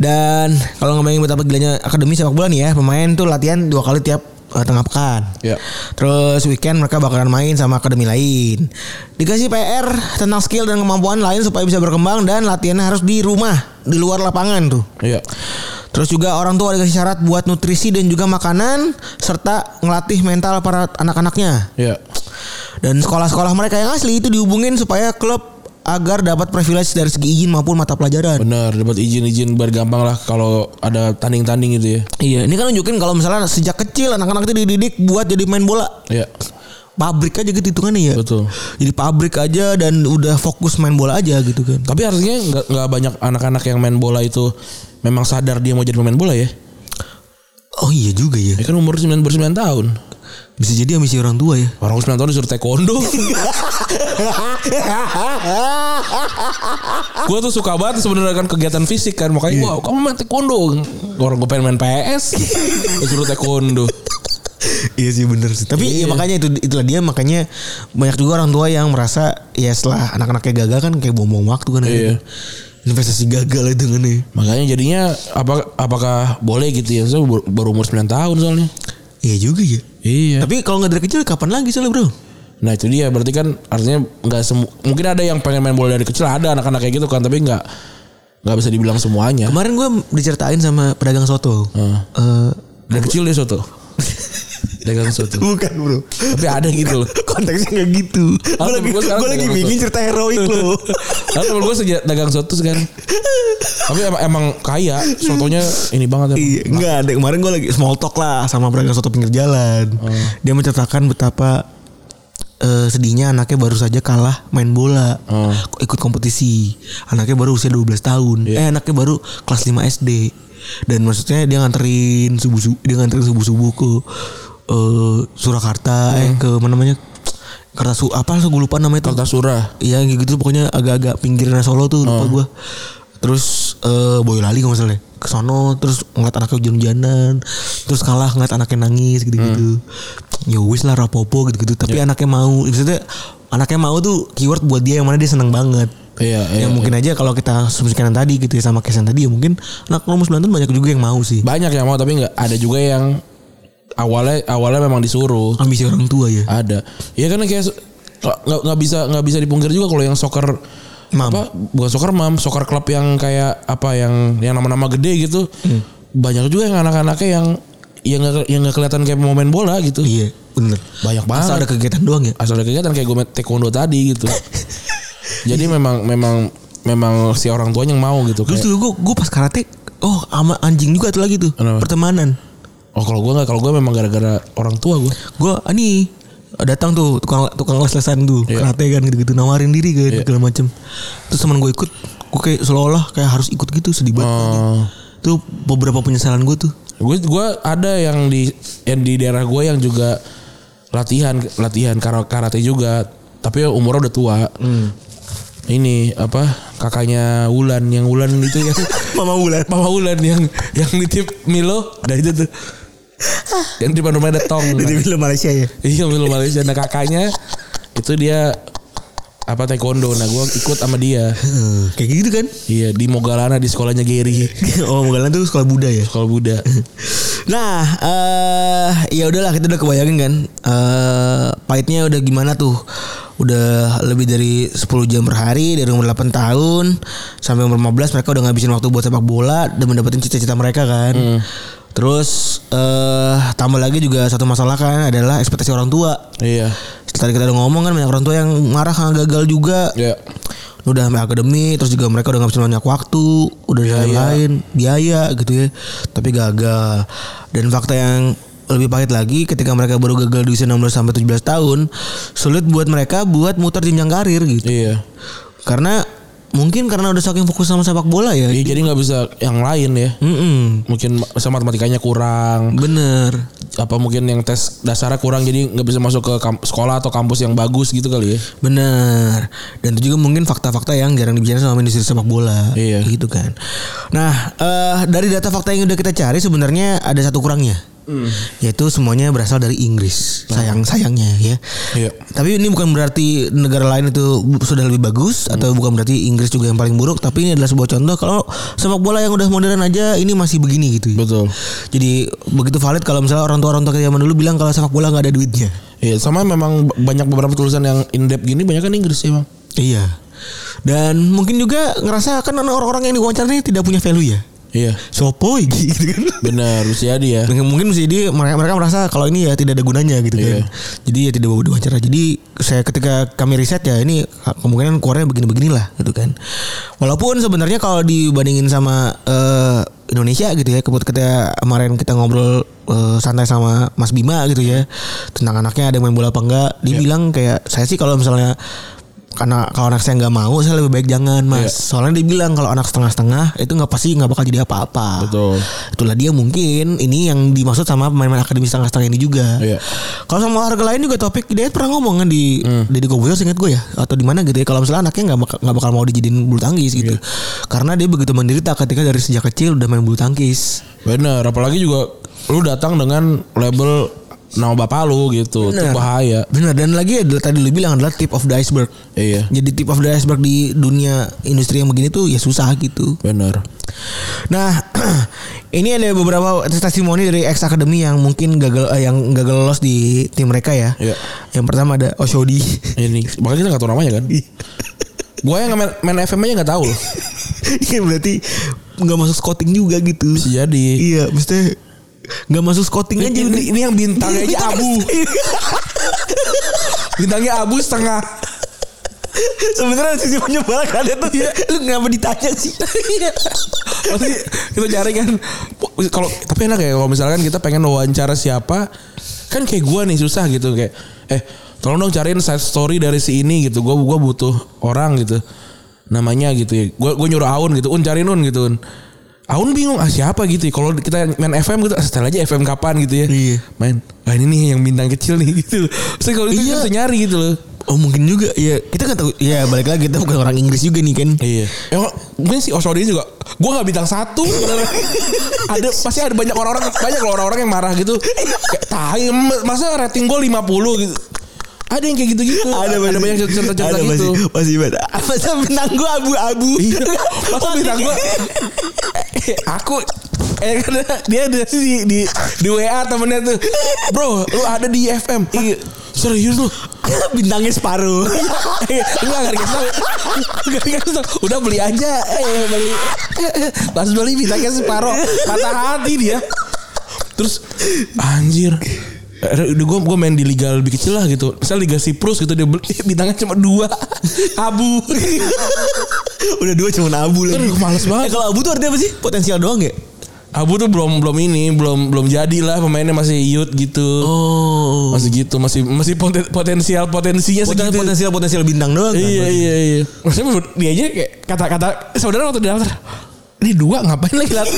S2: Dan Kalau ngebayangin betapa gilanya akademi sepak bola nih ya Pemain tuh latihan dua kali tiap eh, tengah pekan
S3: Ya.
S2: Terus weekend mereka bakalan main sama akademi lain Dikasih PR tentang skill dan kemampuan lain Supaya bisa berkembang Dan latihannya harus di rumah Di luar lapangan tuh
S3: Iya.
S2: Terus juga orang tua dikasih syarat buat nutrisi dan juga makanan Serta ngelatih mental para anak-anaknya
S3: Iya.
S2: dan sekolah-sekolah mereka yang asli itu dihubungin supaya klub agar dapat privilege dari segi izin maupun mata pelajaran.
S3: Benar, dapat izin-izin biar gampang lah kalau ada tanding-tanding gitu ya.
S2: Iya, ini kan nunjukin kalau misalnya sejak kecil anak-anak itu dididik buat jadi main bola.
S3: Iya.
S2: Pabrik aja gitu hitungannya ya.
S3: Betul.
S2: Jadi pabrik aja dan udah fokus main bola aja gitu kan.
S3: Tapi harusnya nggak nggak banyak anak-anak yang main bola itu memang sadar dia mau jadi pemain bola ya.
S2: Oh iya juga ya.
S3: Ya kan umur 9 baru 9 tahun.
S2: Bisa jadi ambisi orang tua ya.
S3: Orang 9 tahun disuruh taekwondo. gue tuh suka banget sebenarnya kan kegiatan fisik kan makanya wah kamu main taekwondo orang gue pengen main PS disuruh taekwondo
S2: iya sih bener sih. Tapi ya makanya itu itulah dia makanya banyak juga orang tua yang merasa ya setelah anak-anaknya gagal kan kayak buang-buang waktu kan.
S3: Iya.
S2: Investasi gagal itu kan ya.
S3: makanya jadinya apa apakah boleh gitu ya Saya baru, baru umur 9 tahun soalnya
S2: Iya Iya. juga ya.
S3: iya
S2: Tapi kalau nggak dari kecil kapan lagi soalnya bro?
S3: nah itu dia berarti kan artinya nggak semu mungkin ada yang pengen main bola dari kecil ada anak-anak kayak gitu kan tapi nggak nggak bisa dibilang semuanya
S2: Kemarin gue diceritain sama pedagang soto. Eh
S3: Heeh. dari kecil dia soto dagang soto.
S2: Bukan bro.
S3: Tapi ada yang gitu loh.
S2: Konteksnya nggak gitu. Gue
S3: temen
S2: lagi,
S3: gua sekarang
S2: gua lagi
S3: dagang
S2: bikin
S3: soto.
S2: cerita heroik loh.
S3: Karena temen gue sejak dagang soto sekarang. Tapi emang, emang kaya, sotonya ini banget ya. emang.
S2: Iya, enggak ada kemarin gue lagi small talk lah sama pedagang soto pinggir jalan.
S3: Oh.
S2: Dia menceritakan betapa eh, sedihnya anaknya baru saja kalah main bola.
S3: Hmm.
S2: Kok Ikut kompetisi. Anaknya baru usia 12 tahun. Eh
S3: Iya.
S2: anaknya baru kelas 5 SD. Dan maksudnya dia nganterin subuh subuh dia nganterin subuh subuh ke eh, Surakarta eh
S3: Hmm.
S2: ke mana namanya Kertasu apa gue lupa namanya tuh.
S3: Tasura.
S2: Iya kayak gitu pokoknya agak-agak pinggiran Solo tuh
S3: Oh.
S2: lupa gua. Terus eh Boyolali kalau misalnya ke sono terus ngeliat anaknya hujan-hujanan, terus kalah ngeliat anaknya nangis gitu-gitu.
S3: Hmm.
S2: Ya wis lah rapopo gitu-gitu,
S3: Ya.
S2: tapi anaknya mau. Maksudnya anaknya mau tuh keyword buat dia yang mana dia seneng banget.
S3: Iya, iya.
S2: yang mungkin aja kalau kita asumsikan yang tadi gitu ya sama case yang tadi ya mungkin anak umur 9 tahun banyak juga yang mau sih.
S3: Banyak yang mau tapi nggak ada juga yang awalnya awalnya memang disuruh.
S2: Ambisi orang tua ya.
S3: Ada. Iya kan kayak so- nggak nggak- nggak bisa nggak bisa dipungkir juga kalau yang soccer
S2: Mam.
S3: apa bukan soccer mam soccer klub yang kayak apa yang yang nama-nama gede gitu banyak juga yang anak-anaknya yang yang nggak yang nggak kelihatan kayak mau main bola gitu
S2: Iya, bener.
S3: banyak banget
S2: Masa ada kegiatan doang ya?
S3: asal ada kegiatan kayak gue main taekwondo tadi gitu jadi memang memang memang si orang tuanya yang mau gitu
S2: Terus
S3: kayak,
S2: tuh gue gue pas karate, oh ama anjing juga tuh lagi tuh
S3: Kenapa?
S2: pertemanan.
S3: oh kalau gue nggak kalau gue memang gara-gara orang tua gue
S2: gue ini "Ah, datang tuh tukang tukang les lesan tuh
S3: Iya.
S2: karate kan gitu gitu nawarin diri kan
S3: Iya.
S2: segala macem terus teman gue ikut gue kayak seolah-olah kayak harus ikut gitu sedih banget
S3: Oh.
S2: tuh beberapa penyesalan gue tuh
S3: gue gue ada yang di yang di daerah gue yang juga latihan latihan kara- karate juga tapi umurnya udah tua ini apa kakaknya Wulan yang Wulan itu yang
S2: mama bulan
S3: Mama Wulan yang yang nitip Milo dan itu tuh yang di depan rumah ada tong
S2: dari film Malaysia ya
S3: Iya Milo Malaysia Nah kakaknya Itu dia Apa taekwondo Nah gue ikut sama dia
S2: Heeh, kayak gitu kan
S3: Iya di Mogalana Di sekolahnya Gary
S2: oh Mogalan tuh sekolah Buddha ya
S3: Sekolah Buddha
S2: Nah, eh ya udahlah kita udah kebayangin kan. Eh pahitnya udah gimana tuh? Udah lebih dari 10 jam per hari dari umur 8 tahun sampai umur 15 mereka udah ngabisin waktu buat sepak bola dan mendapatin cita-cita mereka kan. Terus eh tambah lagi juga satu masalah kan adalah ekspektasi orang tua.
S3: Iya
S2: Tadi kita udah ngomong kan banyak orang tua yang marah karena gagal juga.
S3: Iya
S2: Udah sampai akademi terus juga mereka udah ngabisin banyak waktu, udah
S3: Iya,
S2: biaya. lain biaya gitu ya. Tapi gagal. Dan fakta yang lebih pahit lagi ketika mereka baru gagal di usia 16 sampai 17 tahun, sulit buat mereka buat muter jenjang karir gitu.
S3: Iya
S2: Karena mungkin karena udah saking fokus sama sepak bola ya.
S3: Iya, Jadi nggak bisa yang lain ya
S2: Mm-mm.
S3: Mungkin masa matematikanya kurang
S2: Bener.
S3: Apa mungkin yang tes dasarnya kurang Jadi nggak bisa masuk ke kamp- sekolah atau kampus yang bagus gitu kali ya
S2: Bener. Dan itu juga mungkin fakta-fakta yang jarang dibicarakan sama industri sepak bola.
S3: Iya.
S2: Gitu kan. Nah, eh, dari data fakta yang udah kita cari sebenarnya ada satu kurangnya. Yaitu semuanya berasal dari Inggris. Sayang-sayangnya ya.
S3: Nah. Iya.
S2: Tapi ini bukan berarti negara lain itu sudah lebih bagus
S3: Hmm.
S2: atau bukan berarti Inggris juga yang paling buruk, tapi ini adalah sebuah contoh kalau sepak bola yang udah modern aja ini masih begini gitu. ya.
S3: Betul
S2: Jadi begitu valid kalau misalnya orang tua orang tua kita zaman dulu bilang kalau sepak bola nggak ada duitnya.
S3: Iya sama memang banyak beberapa tulisan yang in depth gini Banyak kan Inggris ya bang
S2: Iya. Dan mungkin juga ngerasa kan orang-orang yang diwawancarai tidak punya value ya.
S3: Iya
S2: Sopo iki, gitu kan.
S3: Benar ya. usia dia
S2: Dan mungkin bisa jadi mereka, mereka merasa kalau ini ya tidak ada gunanya gitu
S3: Iya.
S2: kan. Jadi ya tidak mau diwawancara. Jadi saya ketika kami riset ya ini kemungkinan keluarnya begini-beginilah gitu kan. Walaupun sebenarnya kalau dibandingin sama eh, Indonesia gitu ya, kebetulan kita kemarin kita ngobrol eh, santai sama Mas Bima gitu ya tentang anaknya ada yang main bola apa enggak. Dia
S3: Iya.
S2: bilang kayak saya sih kalau misalnya karena kalau anak saya nggak mau saya lebih baik jangan mas
S3: Iya.
S2: soalnya dia bilang kalau anak setengah-setengah itu nggak pasti nggak bakal jadi apa-apa
S3: Betul.
S2: Itulah dia mungkin ini yang dimaksud sama pemain-pemain akademi setengah-setengah ini juga.
S3: Iya.
S2: Kalau sama olahraga lain juga topik Hidayat pernah ngomong kan di
S3: Hmm.
S2: Deddy Kobuzer seingat gue ya atau di mana gitu ya kalau misalnya anaknya nggak bak- nggak bakal mau dijadiin bulu tangkis gitu.
S3: Iya.
S2: Karena dia begitu menderita ketika dari sejak kecil udah main bulu tangkis.
S3: Bener, apalagi juga lu datang dengan label nama bapak lu gitu. Itu
S2: Bener.
S3: bahaya.
S2: Benar dan lagi adalah tadi lu bilang adalah tip of the iceberg.
S3: Iya.
S2: Jadi tip of the iceberg di dunia industri yang begini tuh ya susah gitu.
S3: Bener.
S2: Nah, ini ada beberapa testimoni dari ex academy yang mungkin gagal eh, yang gagal lolos di tim mereka ya.
S3: Iya.
S2: Yang pertama ada Oshodi.
S3: Ini makanya kita gak tahu namanya kan. Gua yang main, main FM aja gak tahu loh.
S2: Iya berarti nggak masuk scouting juga gitu.
S3: Bisa jadi.
S2: Iya, mesti nggak masuk scouting aja
S3: Ini,
S2: udah.
S3: ini yang bintangnya
S2: Iya,
S3: aja abu. Bintangnya abu setengah.
S2: Sebenarnya sisi menyebalkan itu
S3: Iya.
S2: Iya. lu kenapa ditanya sih?
S3: Pasti Iya. kita cari kan. Kalau tapi enak ya kalau misalkan kita pengen wawancara siapa, kan kayak gua nih susah gitu kayak eh tolong dong cariin side story dari si ini gitu. Gua gua butuh orang gitu. Namanya gitu ya. Gua gua nyuruh Aun gitu. Un cariin Un gitu. Un. Aun bingung ah siapa gitu. ya. Kalau kita main FM gitu, ah, setel aja FM kapan gitu ya.
S2: Iya.
S3: Main. Ah ini nih yang bintang kecil nih gitu. Terus kalau itu
S2: Iya.
S3: kita bisa nyari gitu loh.
S2: Oh mungkin juga ya kita nggak tahu ya balik lagi kita bukan orang Inggris juga nih kan.
S3: Iya. Ya, kok- mungkin si Osorio juga. Gue gak bintang satu. bener. ada pasti ada banyak orang-orang banyak loh orang-orang yang marah gitu. Kayak tai em- masa rating gue 50 gitu. Ada yang kayak gitu-gitu.
S2: pasti.
S3: banyak cerita-cerita
S2: Ada
S3: gitu.
S2: pasti- Pasti banget. Masa bintang gua abu-abu.
S3: Iya. Masa bintang gue aku eh karena dia ada di, di di WA temennya tuh. Bro, lu ada di FM. Iya. Serius lu?
S2: Bintangnya separuh.
S3: Eh, Enggak enggak dikasih tahu. Enggak dikasih tahu. Udah beli aja. Eh beli. Pas beli bintangnya separuh. Patah hati dia. Terus anjir. Eh, Udah gue gue main di liga lebih kecil lah gitu. Misal liga Siprus gitu dia beli bintangnya cuma dua. Abu.
S2: Udah dua cuman abu lagi.
S3: Aduh, males banget.
S2: Eh, kalau abu tuh artinya apa sih? Potensial doang ya?
S3: Abu tuh belum belum ini belum belum jadi lah pemainnya masih youth gitu.
S2: Oh.
S3: Masih gitu masih masih poten- potensial potensinya
S2: Potensial
S3: segitu.
S2: potensial potensial bintang doang. kan?
S3: Oh, gitu. Iya iya iya. Maksudnya dia aja kayak kata-kata "Eh, saudara waktu di daftar. Ini dua ngapain lagi lat?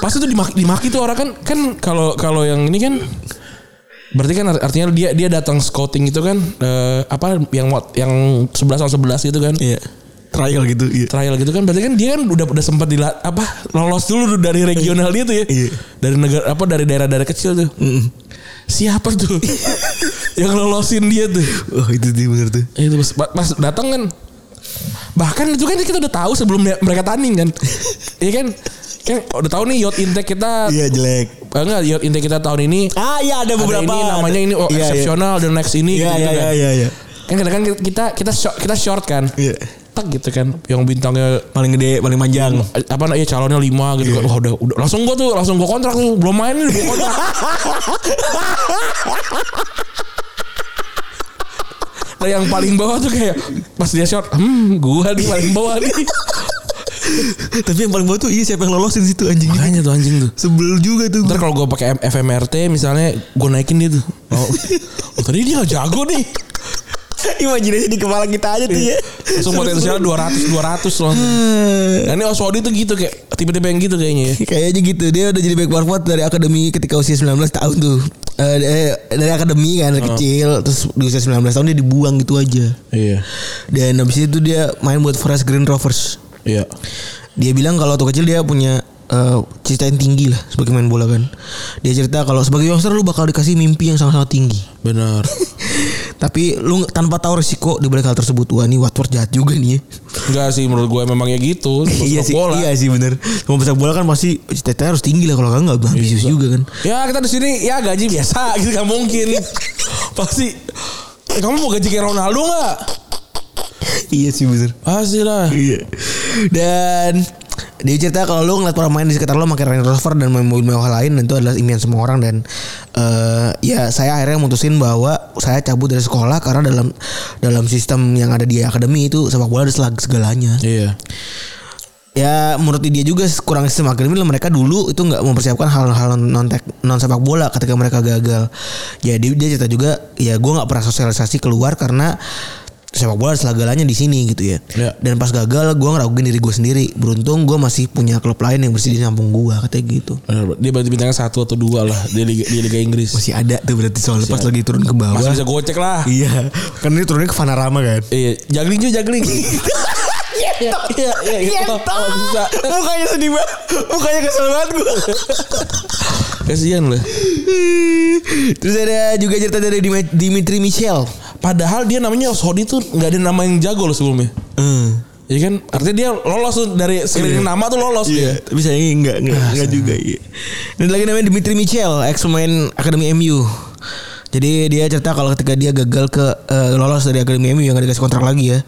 S3: Pas itu dimaki, dimaki tuh orang kan kan kalau kalau yang ini kan berarti kan art- artinya dia dia datang scouting itu kan eh, apa yang wat- yang 11 sama 11 gitu kan.
S2: Iya. Trial gitu. Iya.
S3: Trial gitu kan berarti kan dia kan udah udah sempat dila, apa lolos dulu dari regional dia tuh ya.
S2: Iya.
S3: Dari negara apa dari daerah-daerah kecil tuh. Siapa tuh yang lolosin dia tuh? Eh,
S2: Oh itu dia bener tuh.
S3: itu pas, pas- pas datang kan bahkan itu kan kita udah tahu sebelum dia- mereka tanding kan iya kan kan udah tahu nih yacht intake kita
S2: Iya jelek.
S3: eh, enggak yacht intake kita tahun ini
S2: Ah iya ada
S3: ada
S2: beberapa.
S3: ini namanya ini oh,
S2: Iya, iya.
S3: exceptional the next ini
S2: Iya
S3: gitu-gitu
S2: iya iya
S3: kan.
S2: iya. iya.
S3: kan kadang kan kita kita short, kita short kan
S2: Iya.
S3: tak gitu kan yang bintangnya
S2: Paling gede, paling panjang.
S3: eh, apa ya calonnya lima gitu kan. Wah udah, udah langsung gua tuh langsung gua kontrak tuh belum main nih gua kontrak. nah, yang paling bawah tuh kayak pas dia short, hmm gua di paling bawah nih.
S2: Tapi yang paling bawah tuh iya siapa yang lolosin situ anjing.
S3: Makanya tuh anjing tuh.
S2: Sebel juga tuh.
S3: Ntar kalau gua pakai M- FMRT misalnya gua naikin dia tuh. Oh, oh, tadi dia gak jago nih.
S2: Imajinasi di kepala kita aja tuh ya.
S3: Langsung potensial 200 200 loh. Nah, ini Oswaldi tuh gitu kayak tiba-tiba yang gitu kayaknya ya.
S2: Eh, Kayaknya gitu Dia udah jadi back forward dari akademi ketika usia 19 tahun tuh Eh, eh, Dari akademi kan dari kecil Terus di usia 19 tahun dia dibuang gitu aja
S3: Iya.
S2: Dan habis itu dia main buat Forest Green Rovers
S3: Iya.
S2: Dia bilang kalau waktu kecil dia punya eh, cita yang tinggi lah sebagai main bola kan Dia cerita kalau sebagai youngster lu bakal dikasih mimpi yang sama-sama tinggi
S3: Benar.
S2: Tapi lu nggak- tanpa tahu resiko di balik hal tersebut Wah ini Watford jahat juga nih ya
S3: Enggak sih menurut gue memang ya gitu.
S2: iya
S3: sepak
S2: sih,
S3: bola.
S2: iya sih bener. Semua pesepak bola kan pasti cita-cita harus tinggi lah kalau nggak nggak ambisius juga kan.
S3: Ya kita di sini ya gaji biasa gitu gak mungkin. Pasti eh, kamu mau gaji kayak Ronaldo nggak?
S2: iya sih bener.
S3: Pasti lah.
S2: Iya. Dan dia cerita kalau lu ngeliat pemain di sekitar lu pakai Range Rover dan mobil mewah lain dan itu adalah impian semua orang dan eh, ya saya akhirnya mutusin bahwa saya cabut dari sekolah karena dalam dalam sistem yang ada di akademi itu sepak bola ada sela- segalanya.
S3: Iya.
S2: Ya menurut dia juga kurang sistem akademi lah mereka dulu itu nggak mempersiapkan hal-hal non non sepak bola ketika mereka gagal. Jadi dia cerita juga ya gue nggak pernah sosialisasi keluar karena sepak bola selagalanya di sini gitu ya.
S3: Ya.
S2: Dan pas gagal gue ngeraguin diri gue sendiri. Beruntung gue masih punya klub lain yang bersih di kampung gue katanya gitu.
S3: Benar, Dia berarti bintangnya satu atau dua lah di Liga, di Liga Inggris. Masih,
S2: Masih ada tuh berarti soal lepas lagi turun ke bawah.
S3: bisa gocek lah.
S2: Iya, kan ini turunnya ke Vanarama kan.
S3: Iya, jagling juga jagling. Iya, iya, iya, iya.
S2: Ngentot.
S3: Oh, bisa.
S2: Mukanya sedih banget, mukanya kesel banget gue.
S3: Kasihan lah.
S2: Terus ada juga cerita dari Dim- Dimitri Michel.
S3: Padahal dia namanya Sodi tuh nggak ada nama yang jago loh sebelumnya.
S2: Hmm.
S3: Iya kan? Artinya dia lolos tuh dari
S2: Iya.
S3: screening nama tuh lolos dia.
S2: Tapi sayangnya enggak iya. enggak, enggak juga iya. Dan lagi namanya Dimitri Michel, ex pemain Akademi MU. Jadi dia cerita kalau ketika dia gagal ke eh, lolos dari Akademi MU yang gak dikasih kontrak lagi ya.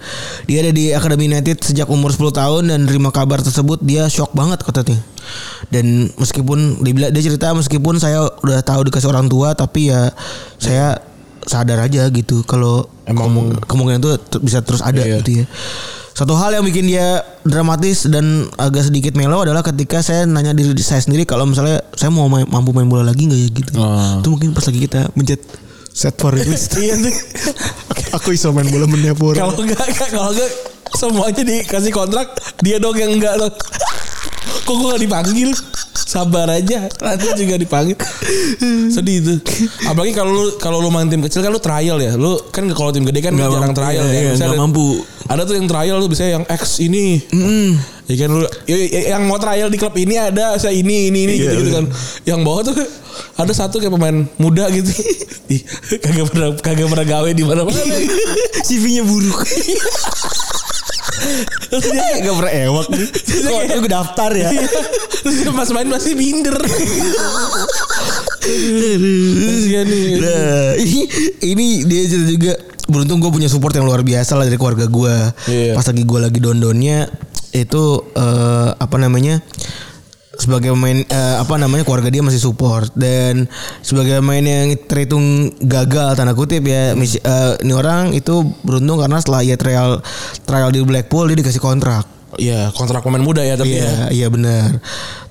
S2: Dia ada di Akademi United sejak umur 10 tahun dan terima kabar tersebut dia shock banget katanya. Dan meskipun dia, bila- dia cerita meskipun saya udah tahu dikasih orang tua tapi ya saya sadar aja gitu kalau
S3: Emang-
S2: kemung- kemungkinan itu ter- bisa terus ada
S3: Iya.
S2: gitu ya. Satu hal yang bikin dia dramatis dan agak sedikit melo adalah ketika saya nanya diri saya sendiri kalau misalnya saya mau main- mampu main bola lagi nggak ya gitu.
S3: Oh.
S2: Itu mungkin pas lagi kita mencet
S4: Set for request. Aku iso main bola meniapur.
S3: Kalau enggak kalau enggak semuanya dikasih kontrak, dia dong yang enggak loh. Kok gue gak dipanggil? Sabar aja, nanti juga dipanggil. Sedih itu. Apalagi kalau lu kalau lu main tim kecil kan lu trial ya. Lu kan kalau tim gede kan
S2: Nggak
S3: jarang
S2: mampu,
S3: trial
S2: iya,
S3: ya.
S2: iya,
S3: Misalnya
S2: nggak
S3: ada-
S2: mampu.
S3: Ada tuh yang trial tuh bisa yang X ini. Ya kan lu ya, ya, yang mau trial di klub ini ada saya ini ini ini
S4: Iya,
S3: gitu, gitu
S4: iya.
S3: kan. Yang bawah tuh ada satu kayak pemain muda gitu. Ih, kagak pernah kagak pernah gawe di mana-mana.
S2: CV-nya buruk.
S3: Iya. Terus dia kayak
S4: Gak pernah ewak nih.
S3: Kok
S4: Kok
S3: lu
S4: gue daftar ya.
S3: Iya. Terus dia pas main masih minder. Kasihan nih.
S2: Nah, ini ini dia cerita juga beruntung gue punya support yang luar biasa lah dari keluarga gue.
S3: Iya.
S2: Pas lagi gue lagi dondonnya itu eh, apa namanya sebagai pemain eh, apa namanya keluarga dia masih support dan sebagai pemain yang terhitung gagal tanda kutip ya mis- eh, ini orang itu beruntung karena setelah ia trial trial di Blackpool dia dikasih kontrak.
S3: Iya, kontrak pemain muda ya tapi
S2: Iya,
S3: ya.
S2: iya benar.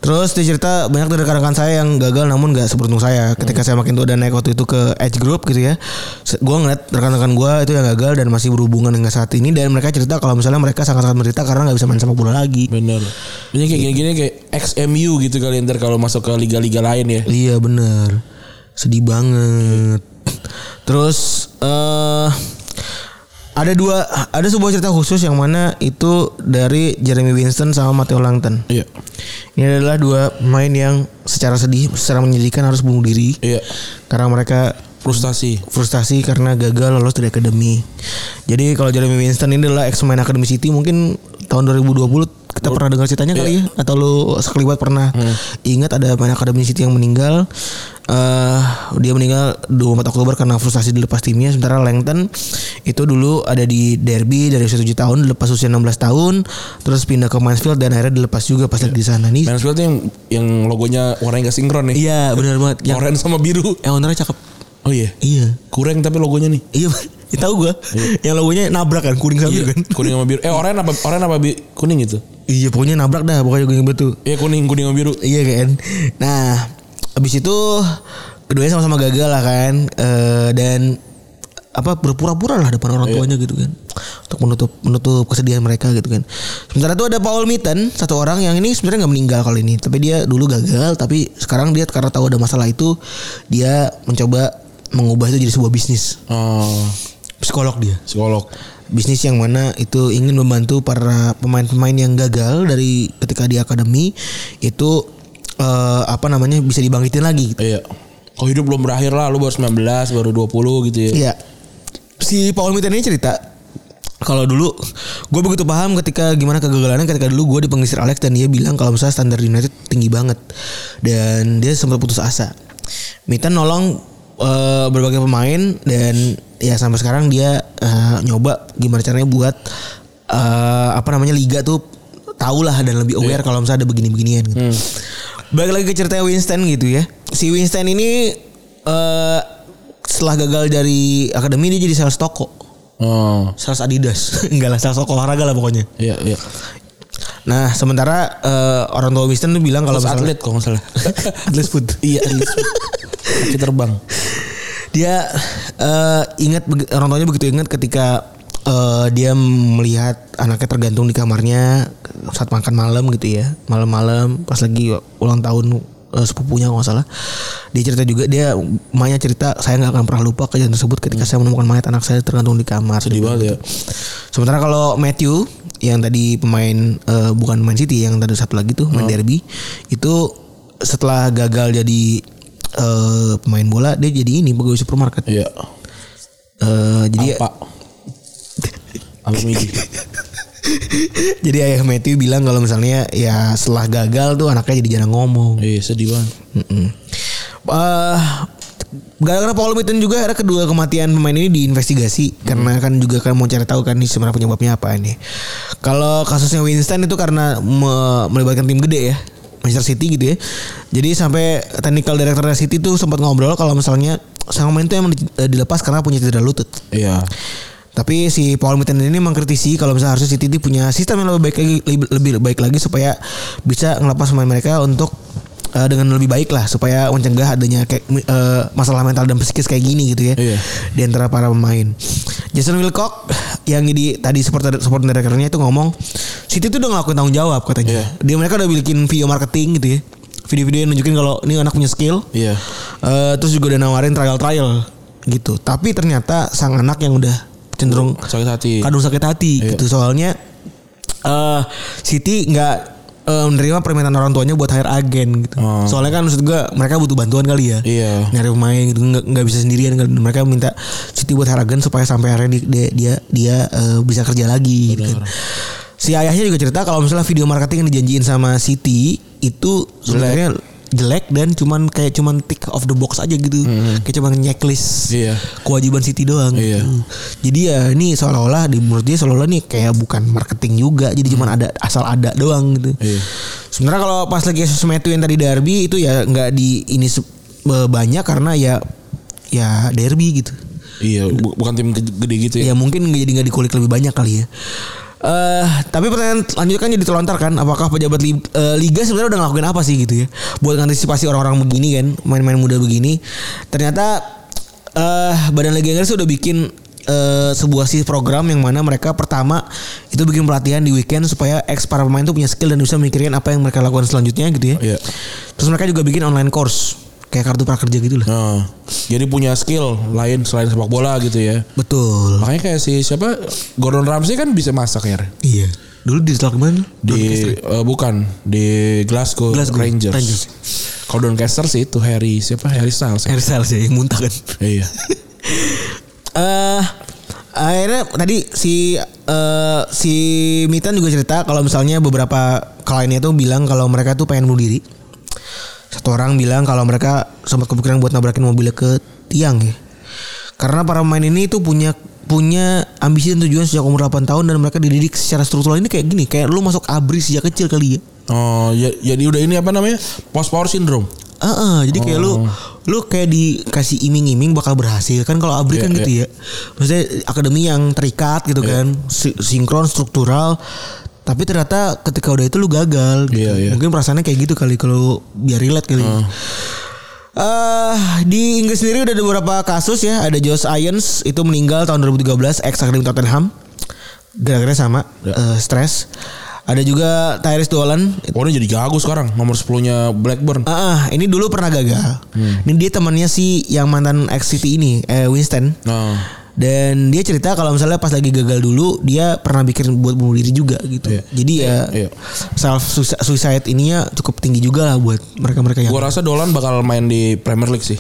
S2: Terus dia cerita banyak dari rekan-rekan saya yang gagal namun nggak seberuntung saya. Ketika saya makin tua dan naik waktu itu ke Edge Group gitu ya. se- Gua ngeliat rekan-rekan gua itu yang gagal dan masih berhubungan hingga saat ini dan mereka cerita kalau misalnya mereka sangat-sangat menderita karena nggak bisa main sama bola lagi.
S3: Bener. Ini kayak gini-gini kayak XMU gitu kali ntar kalau masuk ke liga-liga lain ya.
S2: Iya benar. Sedih banget. Terus eh ada dua ada sebuah cerita khusus yang mana itu dari Jeremy Winston sama Matteo Langton.
S3: Iya.
S2: Ini adalah dua pemain yang secara sedih, secara menyedihkan harus bunuh diri.
S3: Iya.
S2: Karena mereka
S3: Frustasi.
S2: frustasi karena gagal lolos dari akademi. Jadi kalau Jeremy Winston ini adalah ex pemain Academy City mungkin tahun 2020 kita pernah dengar ceritanya kali ya atau lu sekeliwat pernah ingat ada pemain Academy City yang meninggal. eh dia meninggal 24 Oktober karena frustasi dilepas timnya sementara Langton itu dulu ada di Derby dari usia 7 tahun dilepas usia 16 tahun terus pindah ke Mansfield dan akhirnya dilepas juga pas lagi di sana nih.
S3: Mansfield tuh yang yang logonya warnanya gak sinkron nih.
S2: Iya benar banget. Yang,
S3: Oranye sama biru.
S2: yang ownernya cakep.
S3: Oh iya.
S2: Iya.
S3: Kurang tapi logonya nih.
S2: Iya, ya tahu gua. Yang logonya nabrak kan, kuning sama biru kan.
S3: Kuning sama biru. Eh oranye apa oranye apa bi- kuning gitu.
S2: Iya, pokoknya nabrak dah, pokoknya gue inget tuh.
S3: Iya kuning kuning sama biru.
S2: Iya kan. Nah, abis itu keduanya sama-sama gagal lah kan. Eh, dan apa berpura-pura lah depan orang tuanya gitu kan untuk menutup menutup kesedihan mereka gitu kan. Sementara itu ada Paul Mitten satu orang yang ini sebenarnya nggak meninggal kali ini tapi dia dulu gagal tapi sekarang dia karena tahu ada masalah itu dia mencoba mengubah itu jadi sebuah bisnis
S3: Oh,
S2: psikolog dia
S3: psikolog.
S2: bisnis yang mana itu ingin membantu para pemain-pemain yang gagal dari ketika di akademi itu eh, apa namanya bisa dibangkitin lagi gitu.
S3: Iya. Kalau hidup belum berakhir lah, lu baru 19, baru 20 gitu ya.
S2: Iya. Si Paul Mitten ini cerita kalau dulu gue begitu paham ketika gimana kegagalannya ketika dulu gue di pengisir Alex dan dia bilang kalau misalnya standar United tinggi banget dan dia sempat putus asa. Mitten nolong eh, berbagai pemain dan ya sampai sekarang dia eh, nyoba gimana caranya buat eh, apa namanya liga tuh tahu lah dan lebih
S3: Iya.
S2: aware kalau misalnya ada begini-beginian gitu.
S3: Hmm.
S2: Balik lagi ke cerita Winston gitu ya. Si Winston ini eh setelah gagal dari akademi dia jadi sales toko,
S3: Oh.
S2: sales Adidas. Enggak lah sales toko olahraga lah pokoknya.
S3: Iya, iya.
S2: Nah, sementara eh, orang tua Winston tuh bilang kalau
S3: Terus
S2: misalnya
S3: atlet kalau nggak salah.
S2: atlet food.
S3: iya, atlet. Kaki terbang.
S2: dia eh, ingat beg- orang tuanya begitu ingat ketika eh, dia melihat anaknya tergantung di kamarnya saat makan malam gitu ya malam-malam pas lagi ulang tahun eh, sepupunya kalau nggak salah dia cerita juga dia Maya cerita saya nggak akan pernah lupa kejadian tersebut ketika saya menemukan mayat anak saya tergantung di kamar
S3: Hmm. Sedih banget ya.
S2: Sementara kalau Matthew yang tadi pemain eh, bukan Man City yang tadi satu lagi tuh main derby itu setelah gagal jadi eh, pemain bola dia jadi ini pegawai supermarket.
S3: Iya.
S2: Eh, jadi
S3: Apa? Apa Migi?
S2: jadi ayah Matthew bilang kalau misalnya ya Iya, setelah gagal tuh anaknya jadi jarang ngomong.
S3: Iya, sedih banget.
S2: Mm-mm. Eh, gara-gara polemik dan juga akhirnya kedua kematian pemain ini diinvestigasi karena kan juga kan mau cari tahu kan ini sebenarnya penyebabnya apa ini. Kalau kasusnya Winston itu karena me- melibatkan tim gede ya. Manchester City gitu ya. Jadi sampai technical director City tuh sempat ngobrol kalau misalnya sang pemain itu emang di- eh, dilepas karena punya cedera lutut.
S3: Iya.
S2: Tapi si Paul Mitten ini mengkritisi kalau misalnya harusnya City punya sistem yang lebih baik lagi lebih, lebih baik lagi supaya bisa ngelepas pemain mereka untuk eh, dengan lebih baik lah supaya mencegah adanya kayak eh, masalah mental dan psikis kayak gini gitu ya
S3: Iya.
S2: di antara para pemain. Jason Wilcock yang jadi tadi supporter supporter directornya itu ngomong City itu udah ngelakuin tanggung jawab katanya.
S3: Iya.
S2: Dia mereka udah bikin video marketing gitu ya. Video-video yang nunjukin kalau ini anak punya skill.
S3: Iya.
S2: Eh, terus juga udah nawarin trial-trial gitu. Tapi ternyata sang anak yang udah cenderung
S3: Sakit hati.
S2: kadung sakit hati
S3: Iya.
S2: gitu. Soalnya eh Siti nggak eh, menerima permintaan orang tuanya buat hire agen gitu.
S3: Oh.
S2: Soalnya kan maksud gua mereka butuh bantuan kali ya.
S3: Iya.
S2: Nyari pemain gitu nggak nggak bisa sendirian kan. Mereka minta Siti buat hire agen supaya sampai akhirnya di- dia dia, dia, eh, bisa kerja lagi gitu kan. Si ayahnya juga cerita kalau misalnya video marketing yang dijanjiin sama Siti itu sebenarnya jelek dan cuman kayak cuman tick of the box aja gitu. Kayak cuman checklist
S3: Hmm. Iya.
S2: kewajiban Siti doang.
S3: Iya.
S2: gitu. Jadi ya ini seolah-olah di menurut dia seolah-olah nih kayak bukan marketing juga. Jadi cuman ada asal ada doang gitu.
S3: Iya.
S2: Sebenarnya kalau pas lagi Yesus Metu yang tadi derby itu ya nggak di ini se- eh, banyak karena ya ya derby gitu.
S3: Iya, bu- bukan tim gede gede gitu
S2: Ya
S3: ya.
S2: mungkin nggak jadi nggak dikulik lebih banyak kali ya. Eh tapi pertanyaan lanjutkan jadi terlontar kan apakah pejabat li- eh, liga sebenarnya udah ngelakuin apa sih gitu ya buat antisipasi orang-orang begini kan main-main muda begini ternyata eh badan liga Inggris udah bikin eh, sebuah sih program yang mana mereka pertama itu bikin pelatihan di weekend supaya ex para pemain tuh punya skill dan bisa mikirin apa yang mereka lakukan selanjutnya gitu ya
S3: Iya.
S2: terus mereka juga bikin online course kayak kartu prakerja gitu lah
S3: Nah, jadi punya skill lain selain sepak bola gitu ya.
S2: betul
S3: Makanya kayak si siapa Gordon Ramsay kan bisa masak ya.
S2: iya dulu di Setelah kemana
S3: Di eh, bukan di Glasgow,
S2: Glasgow,
S3: Rangers.
S2: Rangers.
S3: Kalau Doncaster sih itu Harry siapa Harry Styles. ya?
S2: Ersel sih yang muntah kan
S3: Iya.
S2: eh akhirnya tadi si eh, si Mitan juga cerita kalau misalnya beberapa kliennya tuh bilang kalau mereka tuh pengen bunuh diri. Satu orang bilang kalau mereka sempat kepikiran buat nabrakin mobilnya ke tiang ya. Karena para pemain ini tuh punya punya ambisi dan tujuan sejak umur 8 tahun dan mereka dididik secara struktural ini kayak gini, kayak lu masuk ABRI sejak kecil kali ya.
S3: Oh, ya- jadi udah ini apa namanya? Post power syndrome.
S2: Heeh, jadi kayak lu
S3: Oh.
S2: lu kayak dikasih iming-iming bakal berhasil kan kalau abri
S3: Iya,
S2: kan gitu
S3: iya.
S2: ya. Maksudnya akademi yang terikat gitu kan, si- sinkron struktural. Tapi ternyata ketika udah itu lu gagal gitu.
S3: Iya, iya.
S2: Mungkin perasaannya kayak gitu kali kalau biar relate kali. Eh di Inggris sendiri udah ada beberapa kasus ya. Ada Josh Irons itu meninggal tahun 2013 ex akademi Tottenham. Gara-gara sama
S3: Ya.
S2: eh, stres. Ada juga Tyrese Dolan
S3: Oh, ini jadi jago sekarang nomor 10-nya Blackburn.
S2: Ah, ini dulu pernah gagal.
S3: Hmm.
S2: Ini dia temannya si yang mantan ex City ini, eh, Winston.
S3: Nah,
S2: Dan dia cerita kalau misalnya pas lagi gagal dulu, dia pernah bikin buat bunuh diri juga gitu.
S3: Iya.
S2: Jadi ya
S3: Iya.
S2: self suicide ininya cukup tinggi juga lah buat mereka-mereka yang
S3: gua rasa Dolan bakal main di Premier League sih.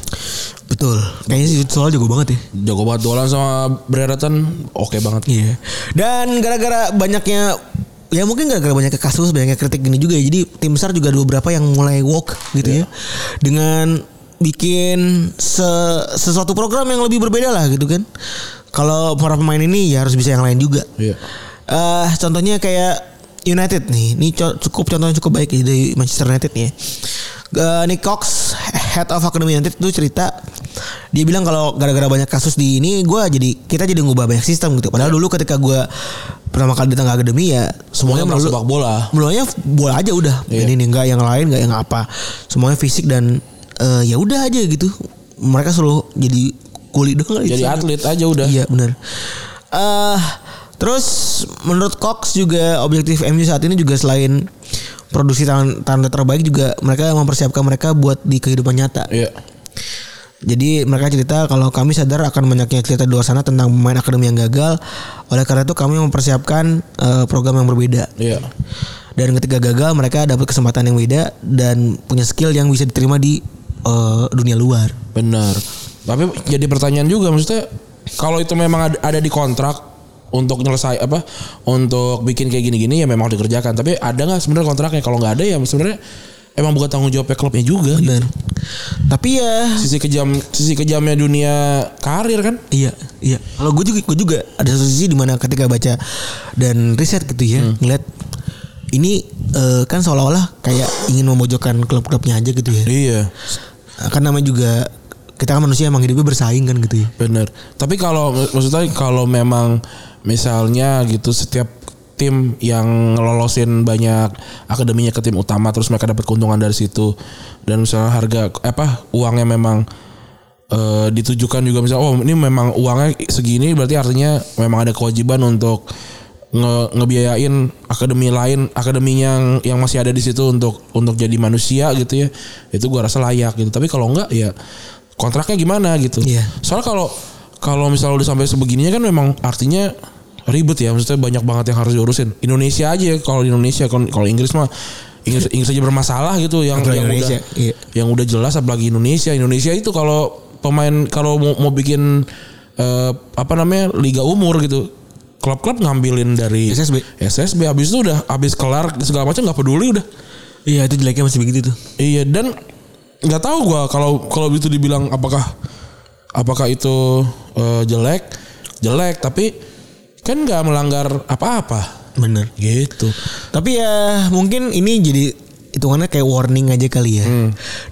S2: betul. Kayaknya sih soal jago banget ya.
S3: Jago banget Dolan sama Brereton oke banget.
S2: Iya. Dan gara-gara banyaknya ya mungkin gara-gara banyaknya kasus, banyaknya kritik gini juga ya. Jadi tim besar juga ada beberapa yang mulai walk gitu ya. Dengan bikin se- sesuatu program yang lebih berbeda lah gitu kan. Kalau para pemain ini ya harus bisa yang lain juga.
S3: Iya.
S2: Eh, contohnya kayak United nih, ini co- cukup contohnya cukup baik dari Manchester United nih. Ya. Eh, Nick Cox, head of Academy United itu cerita dia bilang kalau gara-gara banyak kasus di ini gue jadi kita jadi ngubah banyak sistem gitu.
S3: Iya.
S2: Padahal dulu ketika gue pertama kali datang ke akademi ya semuanya
S3: Semuanya merasa
S2: melulu
S3: sepak bola.
S2: mulanya bola aja udah
S3: Iya.
S2: ini nih nggak yang lain nggak yang apa semuanya fisik dan eh, ya udah aja gitu mereka selalu jadi kuli doang gitu.
S3: Jadi atlet aja udah.
S2: Iya benar. Eh terus menurut Cox juga objektif MU saat ini juga selain produksi tanda, tanda terbaik juga mereka mempersiapkan mereka buat di kehidupan nyata.
S3: Iya.
S2: Jadi mereka cerita kalau kami sadar akan banyaknya cerita di luar sana tentang pemain akademi yang gagal. Oleh karena itu kami mempersiapkan eh, program yang berbeda.
S3: Iya.
S2: Dan ketika gagal mereka dapat kesempatan yang beda dan punya skill yang bisa diterima di eh, dunia luar.
S3: Benar. Tapi jadi pertanyaan juga maksudnya kalau itu memang ada, ada di kontrak untuk nyelesai apa untuk bikin kayak gini-gini ya memang dikerjakan. Tapi ada nggak sebenarnya kontraknya? Kalau nggak ada ya sebenarnya emang bukan tanggung jawabnya klubnya juga. gitu.
S2: Bener. Tapi ya
S3: Sisi kejam sisi kejamnya dunia karir kan.
S2: Iya, iya. Kalau gue juga, gue juga ada satu sisi di mana ketika baca dan riset gitu ya, ngeliat ini eh, kan seolah-olah kayak ingin memojokkan klub-klubnya aja gitu ya.
S3: Iya.
S2: Kan namanya juga kita kan manusia emang hidupnya bersaing kan gitu ya.
S3: Bener. Tapi kalau maksudnya kalau memang misalnya gitu setiap tim yang lolosin banyak akademinya ke tim utama terus mereka dapat keuntungan dari situ dan misalnya harga apa uangnya memang eh, ditujukan juga misalnya oh ini memang uangnya segini berarti artinya memang ada kewajiban untuk nge ngebiayain akademi lain akademi yang yang masih ada di situ untuk untuk jadi manusia gitu ya itu gua rasa layak gitu tapi kalau enggak ya kontraknya gimana gitu
S2: Iya.
S3: Soalnya kalau kalau misalnya udah sampai sebegininya kan memang artinya ribet ya maksudnya banyak banget yang harus diurusin. Indonesia aja ya, kalau di Indonesia kalau kalau Inggris mah Inggris Inggris aja bermasalah gitu yang
S2: Apalagi
S3: yang
S2: Indonesia,
S3: udah
S2: iya.
S3: yang udah jelas apalagi Indonesia. Indonesia itu kalau pemain kalau mau, mau bikin eh, apa namanya liga umur gitu klub-klub ngambilin dari
S2: SSB.
S3: SSB habis itu udah habis kelar segala macam nggak peduli udah
S2: Iya itu jeleknya masih begitu tuh.
S3: Iya dan nggak tahu gua kalau kalau itu dibilang apakah apakah itu eh, jelek jelek tapi kan nggak melanggar apa-apa
S2: Bener.
S3: gitu.
S2: Tapi ya mungkin ini jadi hitungannya kayak warning aja kali ya.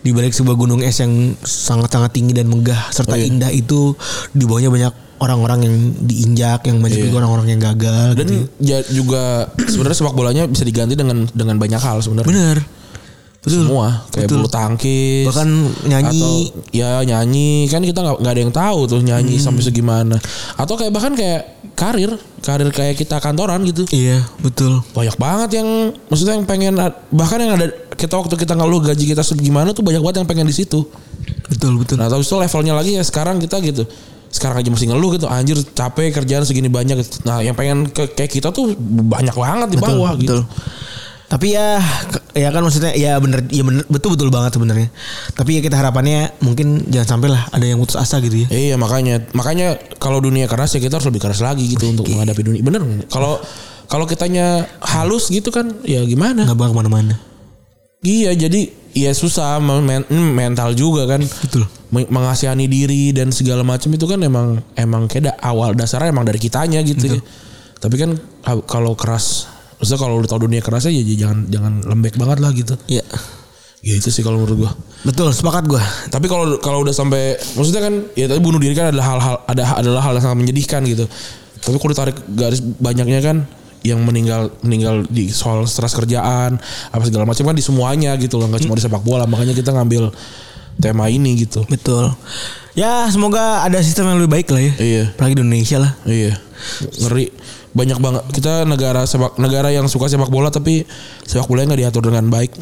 S2: Di balik sebuah gunung es yang sangat-sangat tinggi dan megah serta indah itu di bawahnya banyak orang-orang yang diinjak, yang banyak juga orang-orang yang gagal
S3: Dan
S2: gitu.
S3: ja- juga sebenarnya sepak bolanya bisa diganti dengan dengan banyak hal sebenarnya.
S2: Bener. Betul.
S3: Semua kayak
S2: Betul.
S3: bulu tangkis
S2: Bahkan nyanyi.
S3: atau ya nyanyi kan kita nggak nggak ada yang tahu tuh nyanyi
S2: Hmm.
S3: sampai segimana atau kayak bahkan kayak karir karir kayak kita kantoran gitu
S2: Iya, betul.
S3: banyak banget yang maksudnya yang pengen bahkan yang ada kita waktu kita ngeluh gaji kita segimana tuh banyak banget yang pengen di situ.
S2: Betul, betul.
S3: Nah, terus itu levelnya lagi ya sekarang kita gitu. Sekarang aja masih ngeluh gitu, anjir capek kerjaan segini banyak. Nah, yang pengen ke, kayak kita tuh banyak banget di
S2: Betul,
S3: bawah
S2: betul.
S3: gitu.
S2: Tapi ya ke- ya kan maksudnya ya bener ya bener betul betul banget sebenarnya. Tapi ya kita harapannya mungkin jangan sampai lah ada yang putus asa gitu ya.
S3: Iya makanya makanya kalau dunia keras ya kita harus lebih keras lagi gitu untuk menghadapi dunia. Bener nggak? Kalau kalau kitanya halus gitu kan ya gimana?
S2: Nggak bakal kemana-mana.
S3: Iya jadi ya susah men- men- hmm, mental juga kan.
S2: Betul.
S3: Meng- Mengasihani diri dan segala macam itu kan emang emang kayak da- awal dasarnya emang dari kitanya gitu. Ya. Tapi kan ha- kalau keras Maksudnya kalau udah tau dunia kerasnya ya jangan jangan lembek banget lah gitu.
S2: Iya.
S3: Ya itu sih kalau menurut gua.
S2: Betul, sepakat gua.
S3: Tapi kalau kalau udah sampai maksudnya kan ya tadi bunuh diri kan adalah hal-hal ada adalah hal yang sangat menyedihkan gitu. Tapi kalau ditarik garis banyaknya kan yang meninggal meninggal di soal stres kerjaan apa segala macam kan di semuanya gitu loh nggak cuma di sepak bola makanya kita ngambil tema ini gitu.
S2: Betul. Ya, semoga ada sistem yang lebih baik lah ya.
S3: Iya.
S2: Apalagi di Indonesia lah.
S3: Iya. Ngeri banyak banget kita negara sepak negara yang suka sepak bola tapi sepak bolanya nggak diatur dengan baik.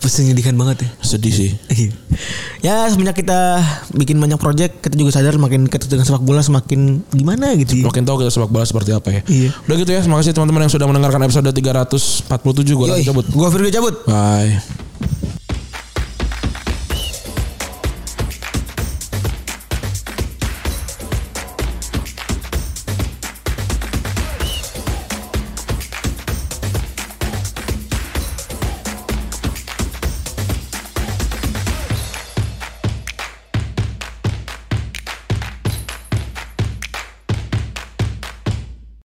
S2: Pasti menyedihkan banget ya.
S3: Sedih sih.
S2: Iya. ya semenjak kita bikin banyak project kita juga sadar makin dekat dengan sepak bola semakin gimana gitu ya.
S3: makin tahu kita sepak bola seperti apa ya.
S2: Iya.
S3: Udah gitu ya, terima kasih teman-teman yang sudah mendengarkan episode 347 gua Raffi
S2: Yoi.
S3: cabut.
S2: Gua Firgo cabut
S3: Bye.